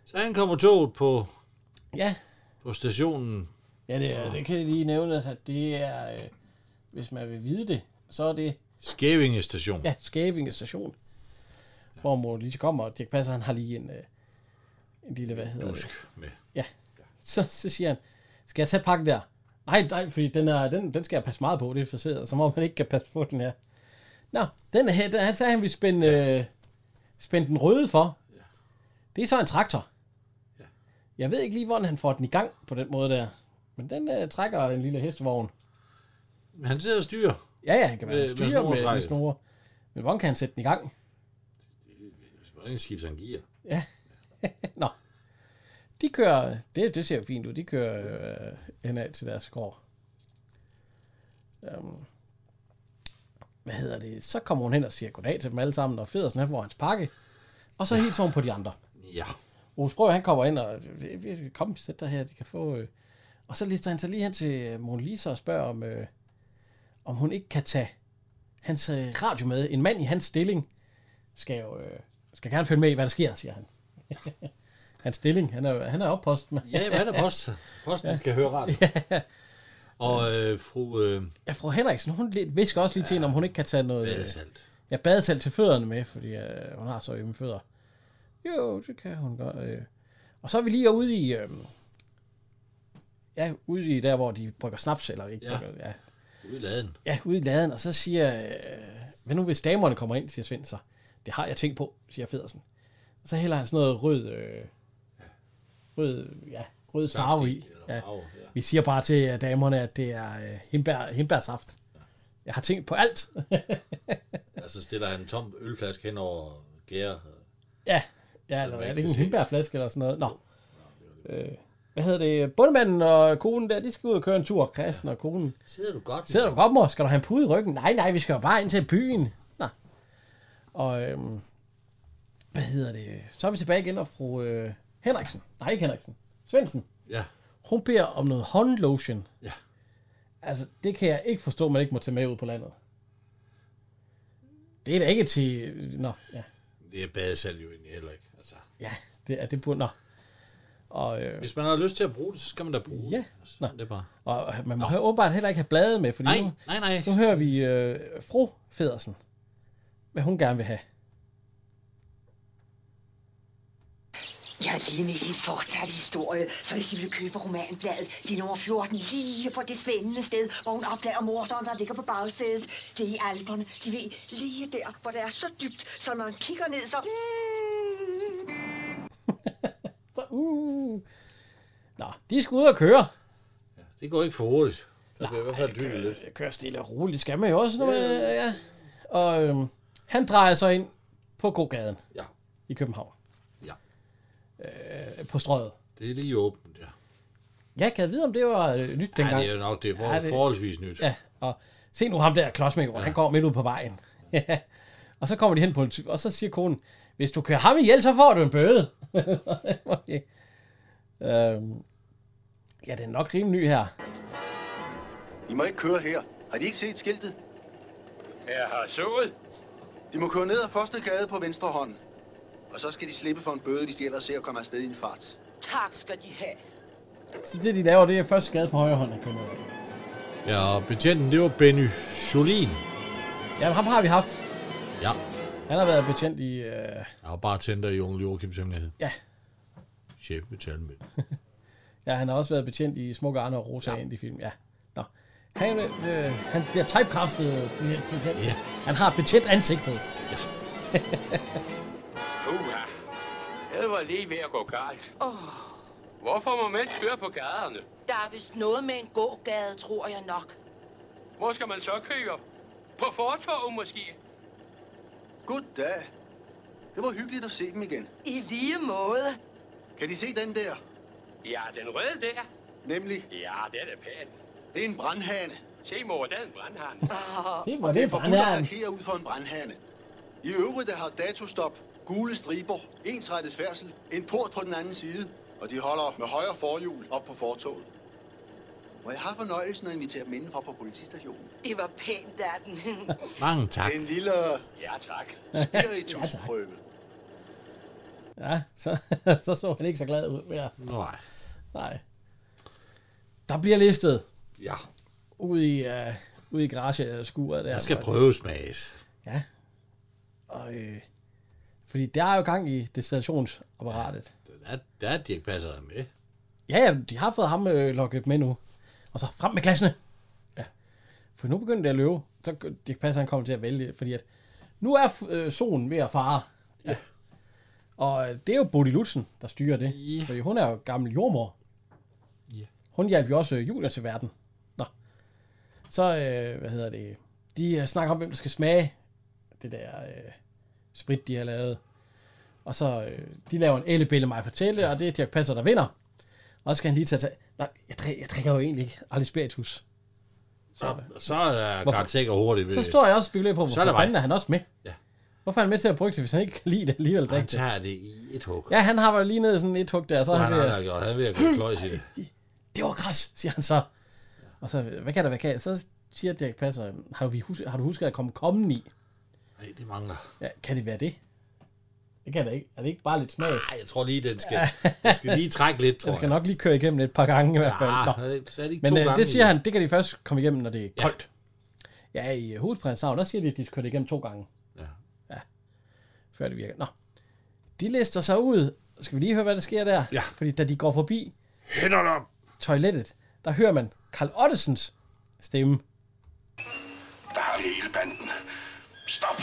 Så han kommer toget på, Ja. på stationen. Ja, det, er, det kan jeg lige nævne, at det er, øh, hvis man vil vide det, så er det Skævinge station. Ja, Skævinge station. Ja. Hvor mor lige kommer, og Dirk Passer, han har lige en, øh, en lille, hvad hedder Dusk det? med. Ja. Så, så siger han, skal jeg tage pakken der? Nej, nej, fordi den, er, den, den skal jeg passe meget på, det er forseret, som om man ikke kan passe på den her. Nå, den her, den, han sagde, han ville spænde, ja. øh, spænde den røde for. Ja. Det er så en traktor. Jeg ved ikke lige, hvordan han får den i gang på den måde der. Men den øh, trækker en lille hestevogn. Han sidder og styrer. Ja, ja, han kan være Med- med styre med, med snoretrækket. snore. Men hvordan kan han sætte den i gang? Hvordan skifter han gear? Ja. <laughs> Nå. De kører, det, det ser jo fint ud, de kører øh, henad til deres gård. Um, hvad hedder det? Så kommer hun hen og siger goddag til dem alle sammen, og Federsen han får hans pakke. Og så hilser hun på de andre. Ja. Rose Brøgh, han kommer ind og, kom, sæt dig her, de kan få... Øh. Og så lister han sig lige hen til øh, Mona Lisa og spørger, om, øh, om hun ikke kan tage hans øh, radio med. En mand i hans stilling skal jo øh, skal gerne følge med i, hvad der sker, siger han. <laughs> hans stilling, han er, jo- han er opposten. Ja, men han er <laughs> post. Posten skal høre radio. Ja. Og øh, fru... Øh, Ja, fru Henriksen, hun lidt- visker også lige til hende, om hun ikke kan tage noget... øh, Badesalt. Ja, badesalt til fødderne med, fordi øh, hun har så ømme fødder. Jo, det kan hun godt. Øh. Og så er vi lige ude i... Øh, ja, ude i der, hvor de brygger snaps, eller ikke? Ja. Brygger, ja. ude i laden. ja, ude i laden, og så siger... Øh, hvad nu, hvis damerne kommer ind, siger Svend så. Det har jeg tænkt på, siger Federsen. Og så hælder han sådan noget rød... Øh, rød, ja, rød Saft farve i, i. eller Ja. farve, ja. Vi siger bare til øh, damerne, at det er øh, hindbær, hindbærsaft. Jeg har tænkt på alt. <laughs> Og så stiller han en tom ølflaske hen over gære. ja, ja eller man hvad, er ikke det ikke en kan se. hindbærflaske eller sådan noget? Nå. Øh, hvad hedder det? Bundemanden og konen der, de skal ud og køre en tur. Kristen og konen. Sidder du godt? Sidder du godt, mor? Skal du have en pude i ryggen? Nej, nej, vi skal jo bare ind til byen. Nå. Og øhm, hvad hedder det? Så er vi tilbage igen, og fru øh, Henriksen. Nej, ikke Henriksen. Svendsen. Ja. Hun beder om noget håndlotion. Ja. Altså, det kan jeg ikke forstå, man ikke må tage med ud på landet. Det er da ikke til... Nå, ja. Det er badesalt jo egentlig heller ikke. Altså, Ja, det er det burde... Nå. Og, øh, hvis man har lyst til at bruge det, så skal man da bruge Ja, det. Altså, det er bare... og øh, man må Nå. åbenbart heller ikke have blade med, fordi Nej, nu, nej, nej. nu hører vi øh, fru Federsen, hvad hun gerne vil have. Jeg har lige med i en fortalt historie, så hvis I vil købe romanbladet, det er nummer 14, lige på det spændende sted, hvor hun opdager morderen, der ligger på bagsædet. Det er i alberne, de ved, lige der, hvor det er så dybt, så når man kigger ned, så... Så, uh. Nå, de skal ud og køre. Det går ikke for hurtigt. Der bliver i hvert fald dyrt lidt. Kører stille og roligt, skal man jo også. Når man, ja. Og øhm, han drejer så ind på gågaden Ja. i København. Ja. Øh, på strøget. Det er lige åbent, ja. Ja, kan jeg vide, om det var øh, nyt Ja, dengang? det er jo nok det er for, Ja, det- forholdsvis nyt. Ja, og se nu ham der, klodsmængden, ja. han går midt ud på vejen. <laughs> Ja. og så kommer de hen på en ty- og så siger konen, hvis du kører ham ihjel, så får du en bøde. <laughs> okay. øhm, ja, den er nok rimelig ny her. I må ikke køre her. Har de ikke set skiltet? Jeg har sået. De må køre ned ad første gade på venstre hånd. Og så skal de slippe for en bøde, hvis de ellers ser at komme afsted i en fart. Tak skal de have. Så det, de laver, det er først skade på højre hånd, han kører ned. Ja, og betjenten, det var Benny Jolin. Ja, men ham har vi haft. Ja. Han har været betjent i... Øh, Jeg var bare tænder i Onkel Joachims hemmelighed. Ja. Chef metalmænd. ja, han har også været betjent i Smukke Arne og Rosa ja. i film. Ja. Nå. Han, øh, han bliver typecastet. øh, betjent. Ja. Han har betjent ansigtet. Uha. Det var lige ved at gå galt. Hvorfor må man ikke køre på gaderne? Der er vist noget med en gågade, tror jeg nok. Hvor skal man så køre? På fortorvet måske? Goddag. Det var hyggeligt at se dem igen. I lige måde. Kan de se den der? Ja, den røde der. Nemlig? Ja, det er da pænt. Det er en brandhane. Se, mor, der er en brandhane. Ah, Se, hvor og det er er forbudt at brandhane. parkere ud for en brandhane. I øvrigt der har datostop, gule striber, ensrettet færdsel, en port på den anden side, og de holder med højre forhjul op på fortoget. Må jeg har fornøjelsen at invitere dem indenfor på politistationen? Det var pænt af den. Mange tak. Til en lille ja, tak. spiritusprøve. Ja, så, <laughs> så så han ikke så glad ud. Ja. Nej. Nej. Der bliver listet Ja. ude i, uh, ude i garage eller skuret. Der, Jeg skal Og- prøvesmages. Ja. Og, øh, fordi der er jo gang i destillationsapparatet. Der, der er Dirk Passer der med. Ja, ja, de har fået ham øh, lukket med nu. Og så frem med glassene. Ja. For nu begynder det at løbe. Så g- det passer, han kommer til at vælge, fordi at nu er f- øh, solen ved at fare. Ja. Og øh, det er jo Bodil Lutzen, der styrer det. Ja. Fordi hun er jo gammel jordmor. Ja. Hun hjalp jo også øh, Julia til verden. Nå. Så, øh, hvad hedder det? De øh, snakker om, hvem der skal smage det der øh, sprit, de har lavet. Og så, øh, de laver en ellebille mig fortælle, ja. og det er Dirk Passer, der vinder. Og så skal han lige tage... tage nej, jeg, drik, jeg drikker jo egentlig ikke aldrig spiritus. Så, så er Hvorfor? Karl sikker hurtigt ved. Så står jeg også og spekulerer på, Så er hvorfor der fanden mig. er han også med? Ja. Hvorfor er han med til at brygge det, hvis han ikke kan lide det alligevel Han drikke det? tager det i et hug. Ja, han har jo lige ned i sådan et hug der, så Så er han han har ved at... nok gjort. Han er ved at gå kløjs i det. det var græs, siger han så. Og så, hvad kan der, hvad kan der?" Så siger Dirk Passer, har, vi hus- har du husket at komme kommen i? Nej, det mangler. Ja, kan det være det? Det kan det ikke. Er det ikke bare lidt smag? Nej, jeg tror lige, den skal, den skal lige trække lidt, tror Den skal nok lige køre igennem et par gange i hvert fald. Ja, Nå. så er det ikke Men to øh, gange det siger i- han, det kan de først komme igennem, når det er koldt. Ja, i øh, Hovedprinshavn, der siger de, at de skal køre det igennem to gange. Ja. ja. Før det virker. Nå. De lister sig ud. Skal vi lige høre, hvad der sker der? Ja. Fordi da de går forbi Hænder dem! toilettet, der hører man Karl Ottesens stemme. Der har vi hele banden. Stop!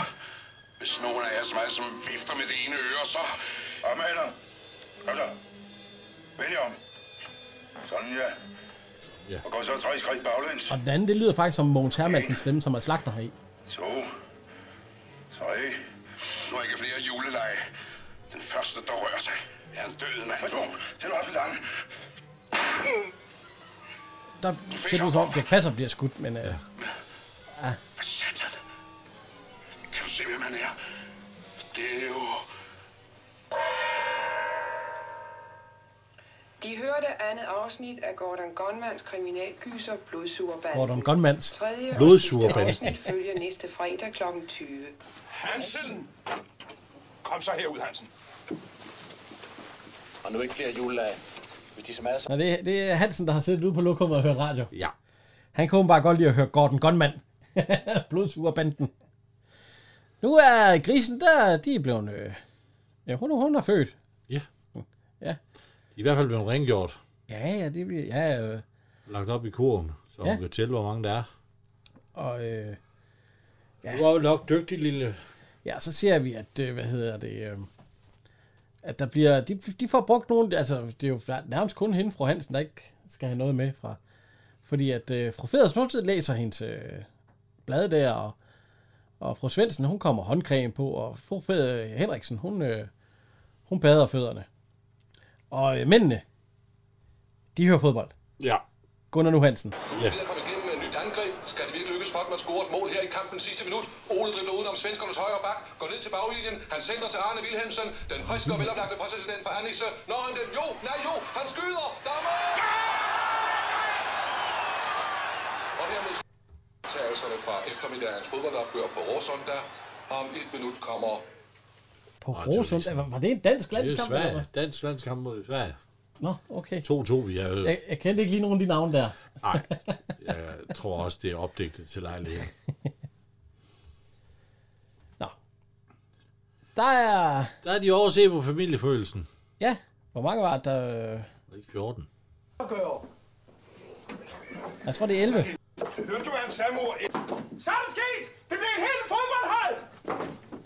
Hvis nogen af jer som er, som vifter med det ene øre, så... Kom med dig. Kom så. Vælg om. Sådan, ja. ja. Og gå så tre skridt baglæns. Og den anden, det lyder faktisk som Mogens Hermansens stemme, som er slagter heri. To. Tre. Nu er ikke flere juleleje. Den første, der rører sig, er en død mand. Værsgo, til op i lange. Der ser det ud som om, det passer bliver skudt, men... Øh, ja. Satan. Kan du se, hvem han er? Det er jo... De hørte andet afsnit af Gordon Gunmans kriminalgyser Blodsugerbanden. Gordon Gunmans Tredje og Blodsugerbanden. sidste afsnit følger næste fredag kl. 20. Hansen! Kom så herud, Hansen. Og nu ikke flere juledage. Hvis de som er så... Nå, det, det er Hansen, der har siddet ude på lokummet og hørt radio. Ja. Han kunne bare godt lide at høre Gordon Gunman. <laughs> Blodsugerbanden. Nu er grisen der, de er blevet... Øh, ja, hun, hun er født. Ja. Ja. De er i hvert fald blevet rengjort. Ja, ja, det bliver... Ja, øh, Lagt op i kurven, så Ja. hun kan tælle, hvor mange der er. og... Øh, ja. Du var jo nok dygtig, lille... Ja, så ser vi, at... Øh, hvad hedder det... Øh, at der bliver... De, de får brugt nogle... Altså, det er jo nærmest kun hende, fru Hansen, der ikke skal have noget med fra... Fordi at øh, fru Federsen, hun læser hendes øh, blad der, og, og fru Svendsen, hun kommer håndcreme på, og fru Feder Henriksen, hun, øh, hun bader fødderne. Og øh, mændene, de hører fodbold. Ja. Gunnar Nu Hansen. Ja. Vi er kommet igennem med et nyt angreb. Skal det virkelig lykkes for dem at score et mål her i kampens sidste minut? Ole dribler udenom svenskernes højre bak, går ned til baglinjen. Han sender til Arne Wilhelmsen. Den friske og veloplagte præsident for Anisse. Når han den? Jo, nej jo, han skyder. Der er mål! Og hermed tagelserne fra eftermiddagens fodboldopgør på Råsondag. Om et minut kommer På Rosund, var, var det en dansk Det er landskamp? eller hvad? Sverige. Dansk landskamp mod Sverige. Nå, okay. 2-2, vi er jo... Jeg, jeg kendte ikke lige nogen af de navne der. Nej, jeg tror også, det er opdigtet til lejligheden. Der er... Der er de over at se på familiefølelsen. Ja, hvor mange var der? øh, Ikke 14. Jeg tror, det er 11. Hørte du, han sagde, mor? Så er det sket! Det bliver et helt fodboldhold!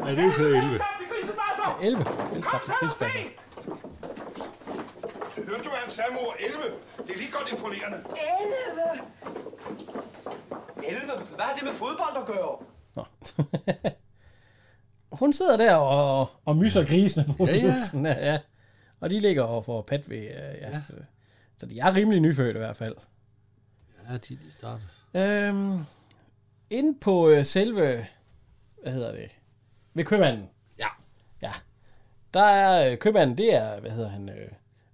Ja, det er jo så 11. Stop, de grisebasser! 11. Kom så og se! Hørte du, han sagde, mor? 11. Det er lige godt imponerende. 11! 11? Hvad har det med fodbold at gøre? <laughs> Hun sidder der og, og myser grisene på Ja, ja, ja. ja. ja, ja. Og de ligger og får pat ved... øh, Ja. ja. Så de er rimelig nyfødte i hvert fald. Ja, de lige starter. Øhm, inde på øh, selve... Hvad hedder det? Ved købmanden. Ja. Ja. Der er øh, købmanden, det er... Hvad hedder han? Øh,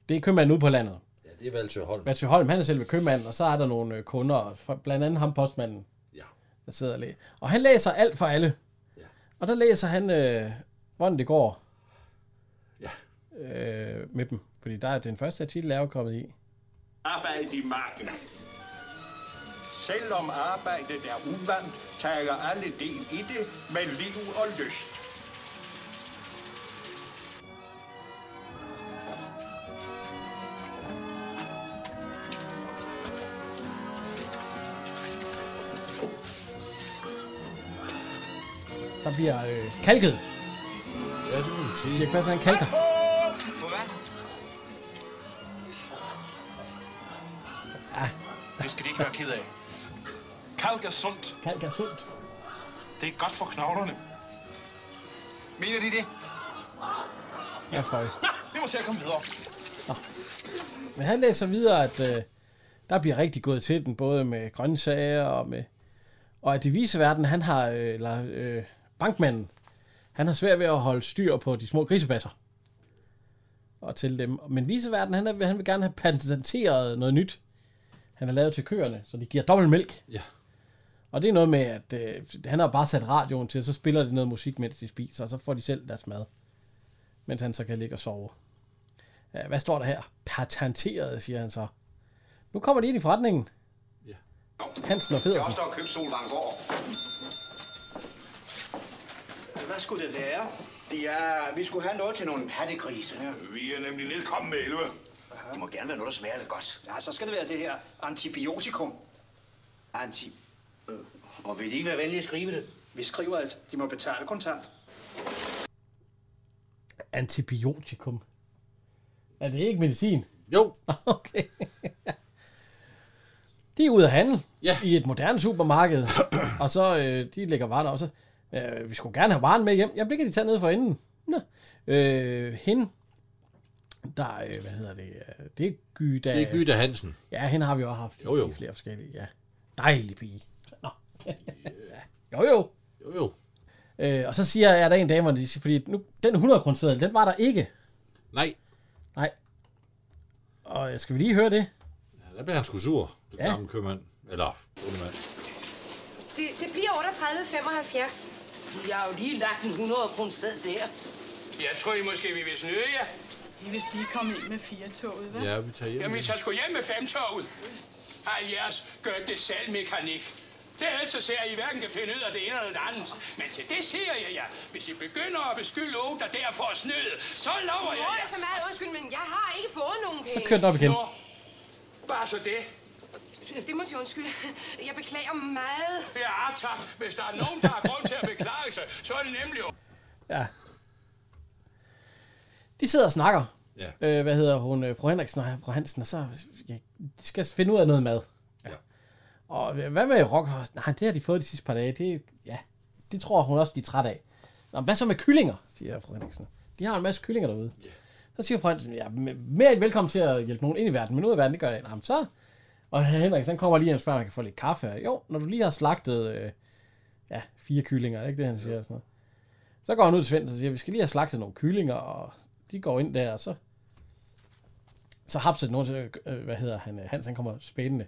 det er købmanden ude på landet. Ja, det er Valsø Holm. Mathieu Holm, han er selve købmanden, og så er der nogle øh, kunder, og for- blandt andet ham postmanden, Ja. der sidder og læser. Og han læser alt for alle. Ja. Og der læser han, øh, hvordan det går ja. øh, med dem. Fordi der er den første artikel er jo kommet i. Arbejde i marken. Selvom arbejdet er uvant, tager alle del i det med liv og lyst. Der bliver øh, kalket. Ja, det må man sige. Dirk Passer, han kalker. Det skal de ikke være ked af. Kalk er sundt. Kalk er sundt. Det er godt for knoglerne. Mener de det? Ja, for Nå, vi må se at komme videre. Men han læser videre, at øh, der bliver rigtig gået til den, både med grøntsager og med... Og at i viseverden, han har... Øh, eller, øh, bankmanden, han har svært ved at holde styr på de små grisebasser. Og til dem. Men viseverden, han, er, han vil gerne have patenteret noget nyt Han er lavet til køerne, så de giver dobbelt mælk. Ja. Og det er noget med, at øh, han har bare sat radioen til, og så spiller det noget musik, mens de spiser, og så får de selv deres mad. Mens han så kan ligge og sove. Ja, hvad står der her? Patenteret, siger han så. Nu kommer de ind i forretningen. Ja. Hansen altså. og Det er Federsen. også der har købt Solvanggaard. Hvad skulle det være? Det er, vi skulle have noget til nogle pattegrise. Vi er nemlig nedkommet med 11. Det må gerne være noget, der smager lidt godt. Ja, så skal det være det her antibiotikum. Anti... Øh, Og vil de ikke være venlige at skrive det? Vi skriver alt. De må betale kontant. Antibiotikum. Er det ikke medicin? Jo. <laughs> Okay. de er ude at handle ja. i et moderne supermarked, og så øh, de lægger varen også. Øh, vi skulle gerne have varen med hjem. Jamen, det kan de tage ned for enden. Nå. Øh, hende, der, øh, hvad hedder det, øh, det er Gyda. Det er Gyda Hansen. Ja, hende har vi også haft. Jo, jo. I flere forskellige, ja. Dejlig pige. Nå. <laughs> jo, jo. Jo, jo. Øh, og så siger jeg, at der er en dame, de siger, fordi nu, den 100 kroner den var der ikke. Nej. Nej. Og øh, skal vi lige høre det? Ja, der bliver han sgu sur, den Ja. ja. gamle købmand. Eller bondemand. Det, det bliver 38,75. Jeg har jo lige lagt en 100 kroner sæd der. Jeg tror I måske, vi vil snyde jer. I vil lige komme ind med fire toget, hvad? Ja, vi tager hjem. Jamen, I tager sgu hjem med femtoget. Al jeres gør det selv mekanik. Det er altså ser I hverken kan finde ud af det ene eller det andet. Men til det siger jeg jer. Hvis I begynder at beskylde Åge, der derfor er snyd, så Må lover jeg jer. jeg så Altså, meget undskyld, men jeg har ikke fået nogen penge. Så kører den op igen. Nå, bare så det. Det må til undskyld. Jeg beklager meget. Ja, tak. Hvis der er nogen, der har grund til at beklage sig, så er det nemlig Åge. Ja. De sidder og snakker. Ja. Øh, hvad hedder hun? øh, Fru Henriksen og fru Hansen, og så ja, de skal finde ud af noget mad. Ja. Og øh, hvad med rockhorst? Nej, det har de fået de sidste par dage. Det, ja, det tror hun også, de er træt af. Nå, men hvad så med kyllinger, siger fru Henriksen. De har en masse kyllinger derude. Ja. Så siger fru Henriksen, ja, m- mere end velkommen til at hjælpe nogen ind i verden, men ud af verden, det gør jeg. ikke. Nå, men så... Og Henriksen han kommer lige ind og spørger, om han kan få lidt kaffe. Jo, når du lige har slagtet øh, ja, fire kyllinger, er det ikke det, han siger? og Sådan noget. Så går han ud til Svend og siger, vi skal lige have slagtet nogle kyllinger, og de går ind der, og så, så hapser det nogen til, øh, hvad hedder han, øh, Hans, han kommer spændende,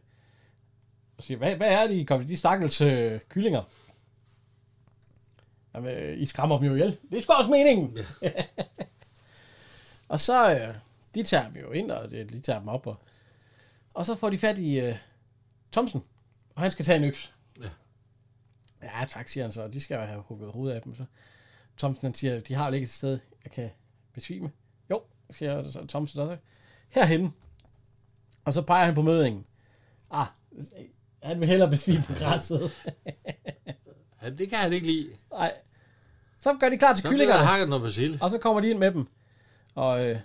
og siger, hvad, hvad er de, kom, de stakkels øh, kyllinger? Jamen, øh, I skræmmer dem jo ihjel. Det er sgu også meningen. Ja. <laughs> og så, øh, de tager dem jo ind, og de, de tager dem op, og, og så får de fat i øh, Thomsen, og han skal tage en øks. Ja. Ja, tak, siger han så. De skal jo have hugget hovedet af dem. Så. Thomsen han siger, de har jo ikke et sted, jeg kan besvime. Jo, siger så Thomsen også. Herhen. Og så peger han på mødingen. Ah, han vil hellere besvime på græsset. Ja, det kan han ikke lide. Nej. Så gør de klar til Så kyllingerne. bliver der hakket noget persille. Og så kommer de ind med dem. Og øh,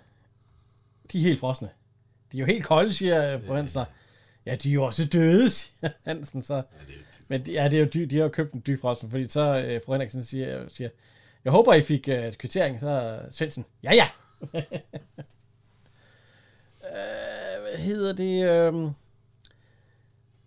de er helt frosne. De er jo helt kolde, siger øh, fru Hansen. Ja, de er jo også døde, siger Hansen så. Men de, ja, det er jo dy, de har jo købt en dyb frossen, fordi så øh, fru Henriksen siger, siger, jeg håber, I fik øh, et kvittering. Så øh, Svendsen, ja ja. <laughs> øh, hvad hedder det? Øh,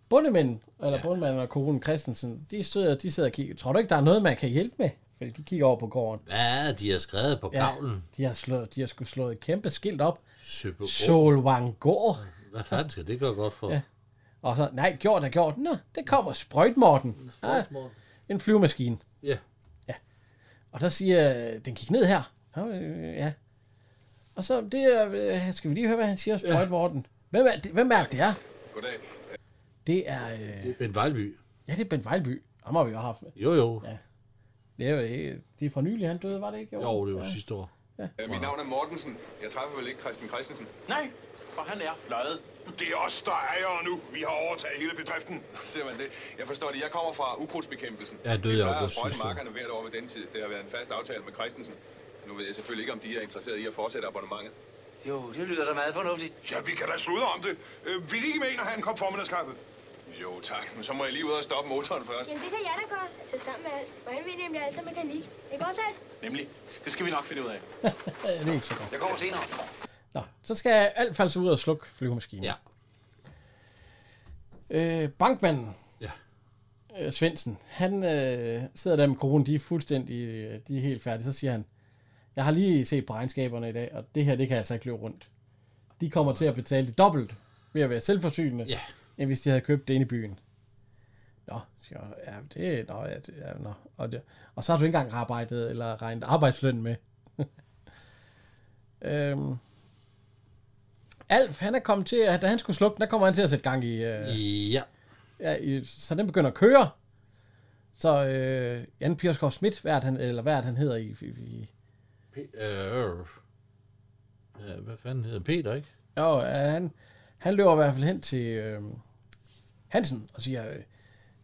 bundemænd, eller ja. bundemanden og konen Christensen, de sidder, de sidder og kigger. Tror du ikke, der er noget, man kan hjælpe med? Fordi de kigger over på gården. Hvad? De har skrevet på gavlen. de har, slået, de har skulle slået et kæmpe skilt op. Søbergård. Solvangård. Hvad fanden skal det gøre godt for? Ja. Og så, nej, gjort er gjort. Nå, det kommer sprøjtmorten. Ja, Sprøjtemorten. en flyvemaskine. Ja. Ja. Og så siger øh, den gik ned her. Ja, øh, ja. Og så, det, er, øh, skal vi lige høre, hvad han siger, sprøjtmorten. Hvem er, det, hvem er det, det er? Goddag. Øh, Det er... Øh, Det er Bent Vejlby. Ja, det er Bent Vejlby. Ham har vi jo haft. Jo, jo. Ja. Det er jo det. Det er for nylig, han døde, var det ikke? Jo, det var ja. sidste år. Ja. Øh, mit navn er Mortensen. Jeg træffer vel ikke Christian Christensen. Nej, for han er fløjet. Det er os, der er ejere nu. Vi har overtaget hele bedriften. Ser man det? Jeg forstår det. Jeg kommer fra ukrudtsbekæmpelsen. Jeg er død i Vi plejer august, at sprøjte synes jeg. markerne hvert år ved den tid. Det har været en fast aftale med Christensen. Nu ved jeg selvfølgelig ikke, om de er interesseret i at fortsætte abonnementet. Jo, det lyder da meget fornuftigt. Ja, vi kan da sludre om det. Øh, vil I ikke med ind og have en kop formiddagskaffe? Jo, tak. Men så må jeg lige ud og stoppe motoren først. Jamen, det kan jeg da gøre. Altså, sammen med alt. Hvordan vil nemlig alt mekanik? Ikke også alt? Nemlig. Det skal vi nok finde ud af. Ja, det er ikke så godt. Jeg kommer senere. Nå, så skal alt falde ud og slukke flyvemaskinen. Ja. Øh, bankmanden. Ja. Øh, Svendsen. Han øh, sidder der med kronen. De er fuldstændig... øh, De er helt færdige. Så siger han, jeg har lige set på regnskaberne i dag, og det her, det kan altså ikke løbe rundt. De kommer til at betale det dobbelt ved at være selvforsynende. Ja. end hvis de havde købt det inde i byen. Nå, siger jeg, ja, det, nå, ja, det, ja, nå. Og, det, og så har du ikke engang arbejdet eller regnet arbejdsløn med. <laughs> øhm. Alf, han er kommet til, at da han skulle slukke den, der kommer han til at sætte gang i... Øh, ja. ja i, så den begynder at køre. Så øh, Jan Pirskov Schmidt, hvad er det, han, eller hvad er det, han hedder i, i, i Øh, øh, hvad fanden hedder Peter, ikke? Jo, øh, han, han løber i hvert fald hen til øh, Hansen og siger, øh,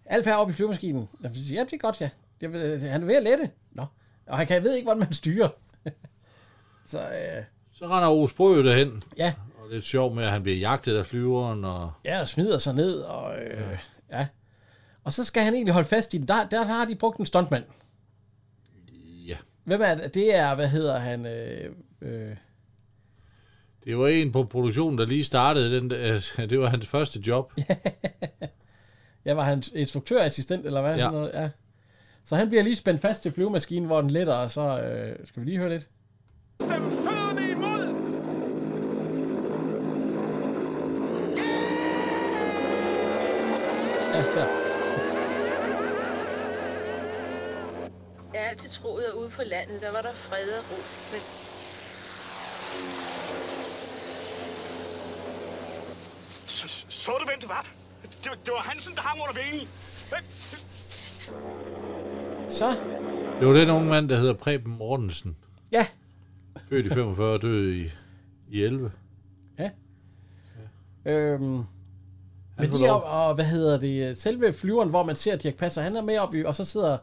Alf er oppe i flyvemaskinen. Og så siger, ja, det er godt, ja. Jeg ved, øh, han er ved at lette. Nå. Og han kan, jeg ved ikke, hvordan man styrer. <laughs> så, øh, Så render Ove Sprø derhen. Ja. Og det er sjovt med, at han bliver jagtet af flyveren, og ja, og smider sig ned. Og, øh, ja. ja. Og så skal han egentlig holde fast i den. Der, der har de brugt en stuntmand. Ja. Hvem er det? Det er, hvad hedder han? Øh, øh, det var en på produktionen, der lige startede. Den, der, <laughs> øh, det var hans første job. Ja, var han instruktørassistent, eller hvad? Ja. Ja. Sådan noget? ja. Så han bliver lige spændt fast til flyvemaskinen, hvor den letter, og så øh, skal vi lige høre lidt. Ja, der. Jeg har altid troet, at ude på landet, der var der fred og ro. Men Så, så du, hvem det var? Det, det var Hansen, der hang under vingen. Så. Det var den unge mand, der hedder Preben Mortensen. Ja. Født i 45 og død i, i 11. Øhm, men får de er, lov. op- og hvad hedder det, selve flyveren, hvor man ser, at Dirk Passer, han er med op i, og så sidder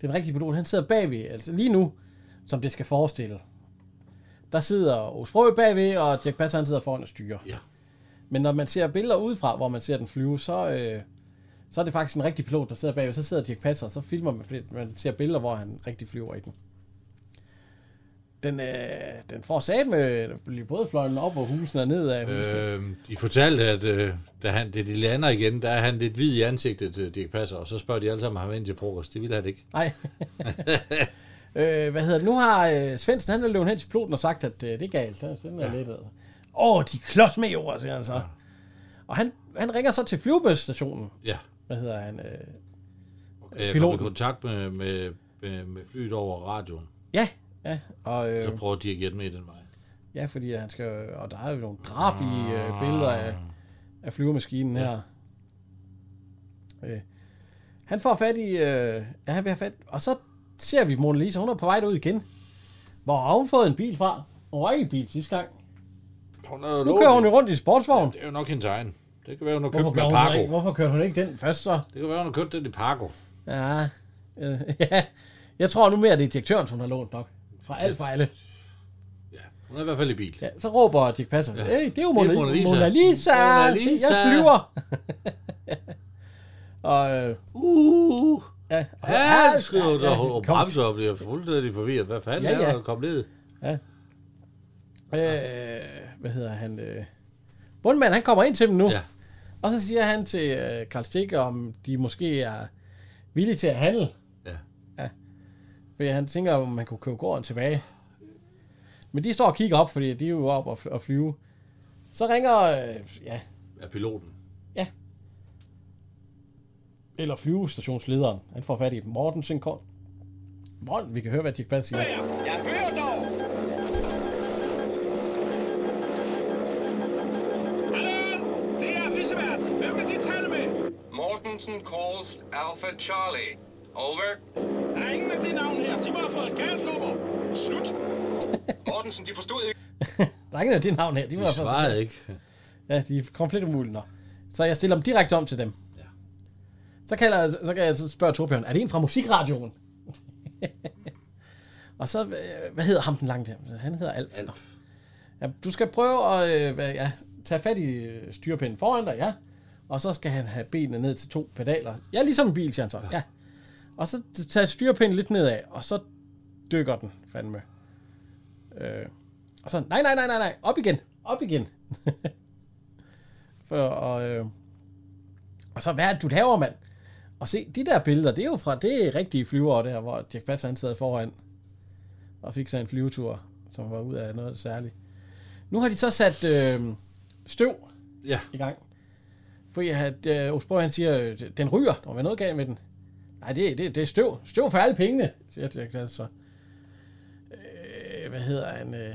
den rigtige pilot, han sidder bagved, altså lige nu, som det skal forestille. Der sidder Osprø bagved, og Dirk Passer, han sidder foran og styrer. Ja. Men når man ser billeder udefra, hvor man ser den flyve, så, øh, så er det faktisk en rigtig pilot, der sidder bagved, så sidder Dirk Passer, og så filmer man, fordi man ser billeder, hvor han rigtig flyver i den. Den, øh, den får sat med både fløjen op og husene og ned af husene. Øh, de fortalte, at øh, da, han, da de lander igen, der er han lidt hvid i ansigtet, øh, Dirk Passer. Og så spørger de alle sammen, om han vil ind til frokost. Det ville han ikke. Nej. <laughs> øh, hvad hedder det? Nu har øh, Svendsen, han er løbet hen til piloten og sagt, at øh, det er galt. Den den er ja. lidt, altså. Åh, de klods med jord, siger han så. Ja. Og han, han ringer så til flyvebøsstationen. Ja. Hvad hedder han? Øh, Øh, Jeg kom i piloten. kontakt med, med, med, med flyet over radioen. Ja, ja. Og, øh, Så prøver de at hjælpe med den vej. Ja, fordi han skal, og der er jo nogle drab i øh, billeder af, af flyvemaskinen her. Øh, han får fat i, øh, ja, han vil have fat, og så ser vi Mona Lisa, hun er på vej ud igen. Hvor har hun fået en bil fra? Hun var ikke i en bil sidste gang. Hun er jo Nu kører hun jo rundt i en sportsvogn. Det er jo nok hendes egen. Det kan være, hun har Hvorfor købt kører, med hun Pargo. ikke, hvorfor kører hun ikke den først så? Det kan være, hun har købt den i Pargo. Ja, øh, <laughs> ja. Jeg tror nu mere, det er direktøren, hun har lånt nok. Fra alt fra alle. Hun er i hvert fald i bil. Ja, så råber Dirk Passer, ja. hey, det er jo Mona, Mona Lisa. Mona Lisa. Mona Se, Lisa. Jeg flyver. <laughs> og, øh, uh, ja, og så- Ja, skriver ja, der, og kom. bremser og bliver fuldstændig forvirret. Hvad fanden Ja, ja, ja. er ja. der, der kom ned? Ja. Øh, hvad hedder han? Øh, Bundmand, han kommer ind til dem nu. Ja. Og så siger han til øh, Karl Stig, om de måske er villige til at handle. Ja. ja. Fordi han tænker, om man kunne købe gården tilbage. Men de står og kigger op, fordi de er jo op og, fly- og flyve. Så ringer, øh, ja, Af piloten. eller flyvestationslederen. Han får fat i dem. Mortensen kort. Morten, vi kan høre, hvad de fast siger. Jeg hører dog. Hallo, det er Visseverden. Hvem kan de tale med? Mortensen calls Alpha Charlie. Over. Der er ingen af de navn her. De må have fået galt nummer. Slut. Mortensen, de forstod ikke. Der er ikke noget af det navn her. De, var De altså- svarede ikke. Ja, de er komplet umulige nå. Så jeg stiller dem direkte om til dem. Ja. Så, kan jeg, så kan jeg så spørge Torbjørn, er det en fra musikradioen? <laughs> og så, øh, hvad hedder ham den langt her? Han hedder Alf. Alf. Ja, du skal prøve at øh, hvad- ja, tage fat i øh, styrepinden foran dig, ja. Og så skal han have benene ned til to pedaler. Ja, ligesom en bil, siger han så. Ja. ja. Og så t- tage styrepinden lidt nedad, og så dykker den fandme. Øh, og så, nej, nej, nej, nej, nej, op igen, op igen. For, og, øh, og så, hvad er det, du laver, mand? Og se, de der billeder, det er jo fra det rigtige flyver der, hvor Dirk Passer han sad foran og fik sig en flyvetur, som var ud af noget særligt. Nu har de så sat øh, støv Ja. i gang. Fordi at, øh, Osborg, han siger, øh, den ryger. Der var noget galt med den. Nej, det, det, det er støv. Støv for alle pengene, siger Dirk Glas så. Øh, hvad hedder han? Øh,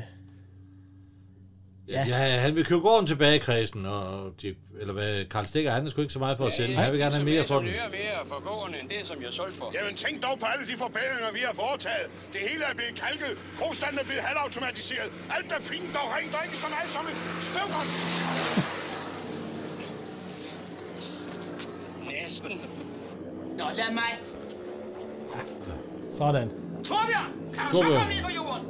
Ja. ja, han vil købe gården tilbage i kredsen, og de, eller hvad, Karl Stikker, han er sgu ikke så meget for at sælge. Han vil gerne have mere for den. er mere for gården, end det, som jeg solgte for. Jamen tænk dog på alle de forbedringer, vi har foretaget. Det hele er blevet kalket. Krogstanden er blevet halvautomatiseret. Alt er fint og rent, og ikke så meget som et støvgrøn. Næsten. Nå, lad mig. sådan. <laughs> Torbjørn, kan du så Torbjørn. komme ned på jorden?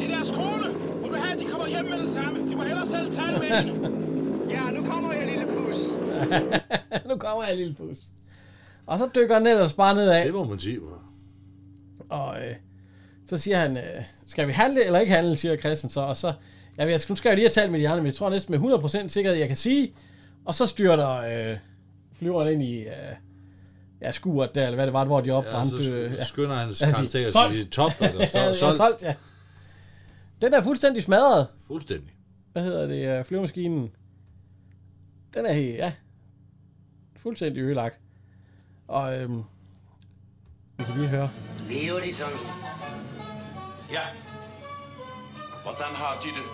Det er deres kone. Hun vil have, at de kommer hjem med det samme. De må hellere selv tage det med hende. Ja, nu kommer jeg, lille pus. nu kommer jeg, lille pus. Og så dykker han ellers bare nedad. Det må man sige. Og øh, så siger han, øh, skal vi handle eller ikke handle, siger Christian så. Og så, ja, jeg skal, nu skal jeg lige have talt med de andre, men jeg tror næsten med 100% sikkerhed, jeg kan sige. Og så styrter øh, flyveren ind i øh, ja, skuret der, eller hvad det var, hvor de opbrændte. så sk- øh, skynder han sig Ja, Karl Stikker solgt! til top, eller Ja, står- <laughs> ja, solgt. solgt, ja. Den er fuldstændig smadret. Fuldstændig. Hvad hedder det? øh, Flyvemaskinen. Den er helt, ja. Fuldstændig ødelagt. Og øhm, vi kan lige høre. Lever de, Tommy? Ja. Hvordan har de det?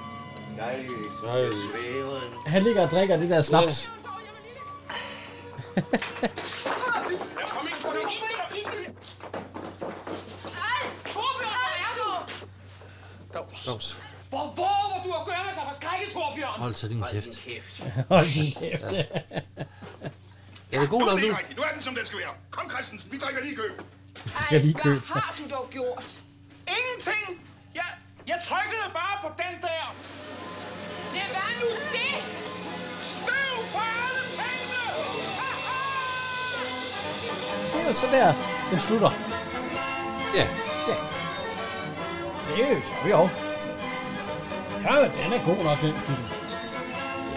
Jeg Øh, svæver nu. Han ligger og drikker det der snaps. <laughs> Kom ind, kom ind. Torbjørn, hvor er du? Dovs. Hvor våger du at gøre sig forskrækket, Torbjørn? Hold så din kæft. Hold din kæft. Ja. Er det god Nu er nok den nu? ikke rigtig. Nu er den, som den skal være. Kom, Christensen, vi drikker lige køb. Jeg lige køb. har du dog gjort? Ingenting. Jeg, jeg trykkede bare på den der. Lad være nu det. Støv for alle pengene. Det er så der, den slutter. Ja. Ja. Det er jo jo. Ja, den er god nok, den film.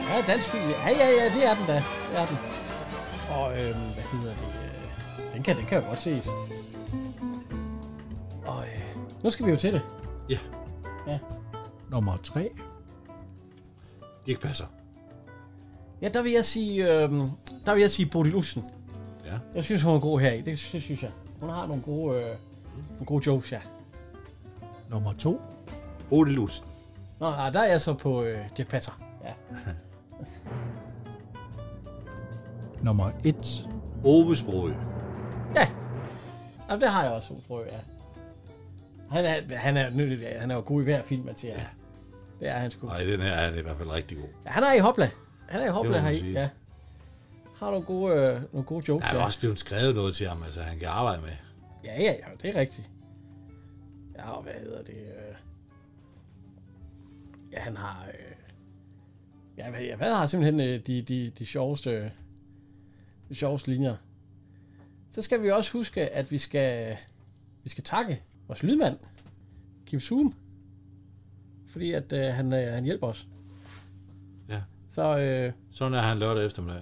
Ja, dansk film. Ja, ja, ja, det er den da. Det er den. Og øhm, hvad hedder det? øh, Den kan, den kan jo godt ses. Og øh, nu skal vi jo til det. Ja. Ja. Nummer 3. De ikke passer. Ja, der vil jeg sige, øhm, der vil jeg sige Bodil Ussen. Ja. Jeg synes, hun er god her i. Det synes, synes jeg. Hun har nogle gode, øh, nogle gode jokes, ja. Nummer 2. Bodil Usen. Nå, nej, der er jeg så på øh, Dirk Passer. Ja. Nummer 1. Ovesbrød. Jamen, det har jeg også, Solfrø, ja. Han er, han er, nyttig, han er jo god i hver film, Mathias. Ja. Det er han sgu. Nej, den her er i hvert fald rigtig god. Ja, han er i Hopla. Han er i Det Hopla må man her i, sige. ja. Har nogle gode, øh, nogle gode jokes. Der er jo også blevet skrevet noget til ham, altså han kan arbejde med. Ja, ja, ja, det er rigtigt. Ja, og hvad hedder det? øh? Ja, han har... Øh... Ja, hvad, ja, hvad har simpelthen øh, de, de, de sjoveste, øh, de sjoveste linjer. Så skal vi også huske, at vi skal, vi skal takke vores lydmand, Kim Zoom. Fordi at øh, han, øh, han hjælper os. Ja. Så, øh, Sådan er han lørdag eftermiddag.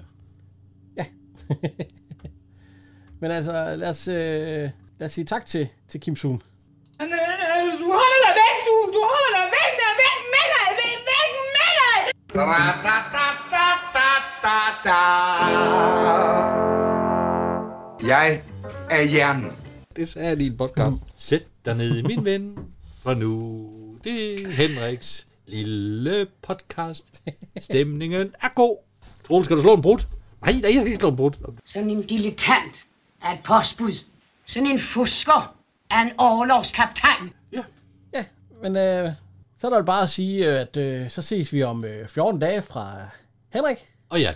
men altså, lad os, øh, lad os sige tak til, til Kim Zoom. Du holder dig væk, du! Du holder dig væk, der er væk med dig! Væk, væk med dig! Jeg er jern. Det sagde jeg lige i en podcast. Sæt dig ned, min ven, for nu. Det er Henriks lille podcast. Stemningen er god. Troels, skal du slå en brud? Nej, nej, jeg skal ikke slå en brud. Sådan en dilettant er et postbud. Sådan en fusker er en overlovskaptajn. Ja. Ja, men øh, så er der jo bare at sige, øh, at øh, så ses vi om øh, 14 dage fra Henrik. Og ja,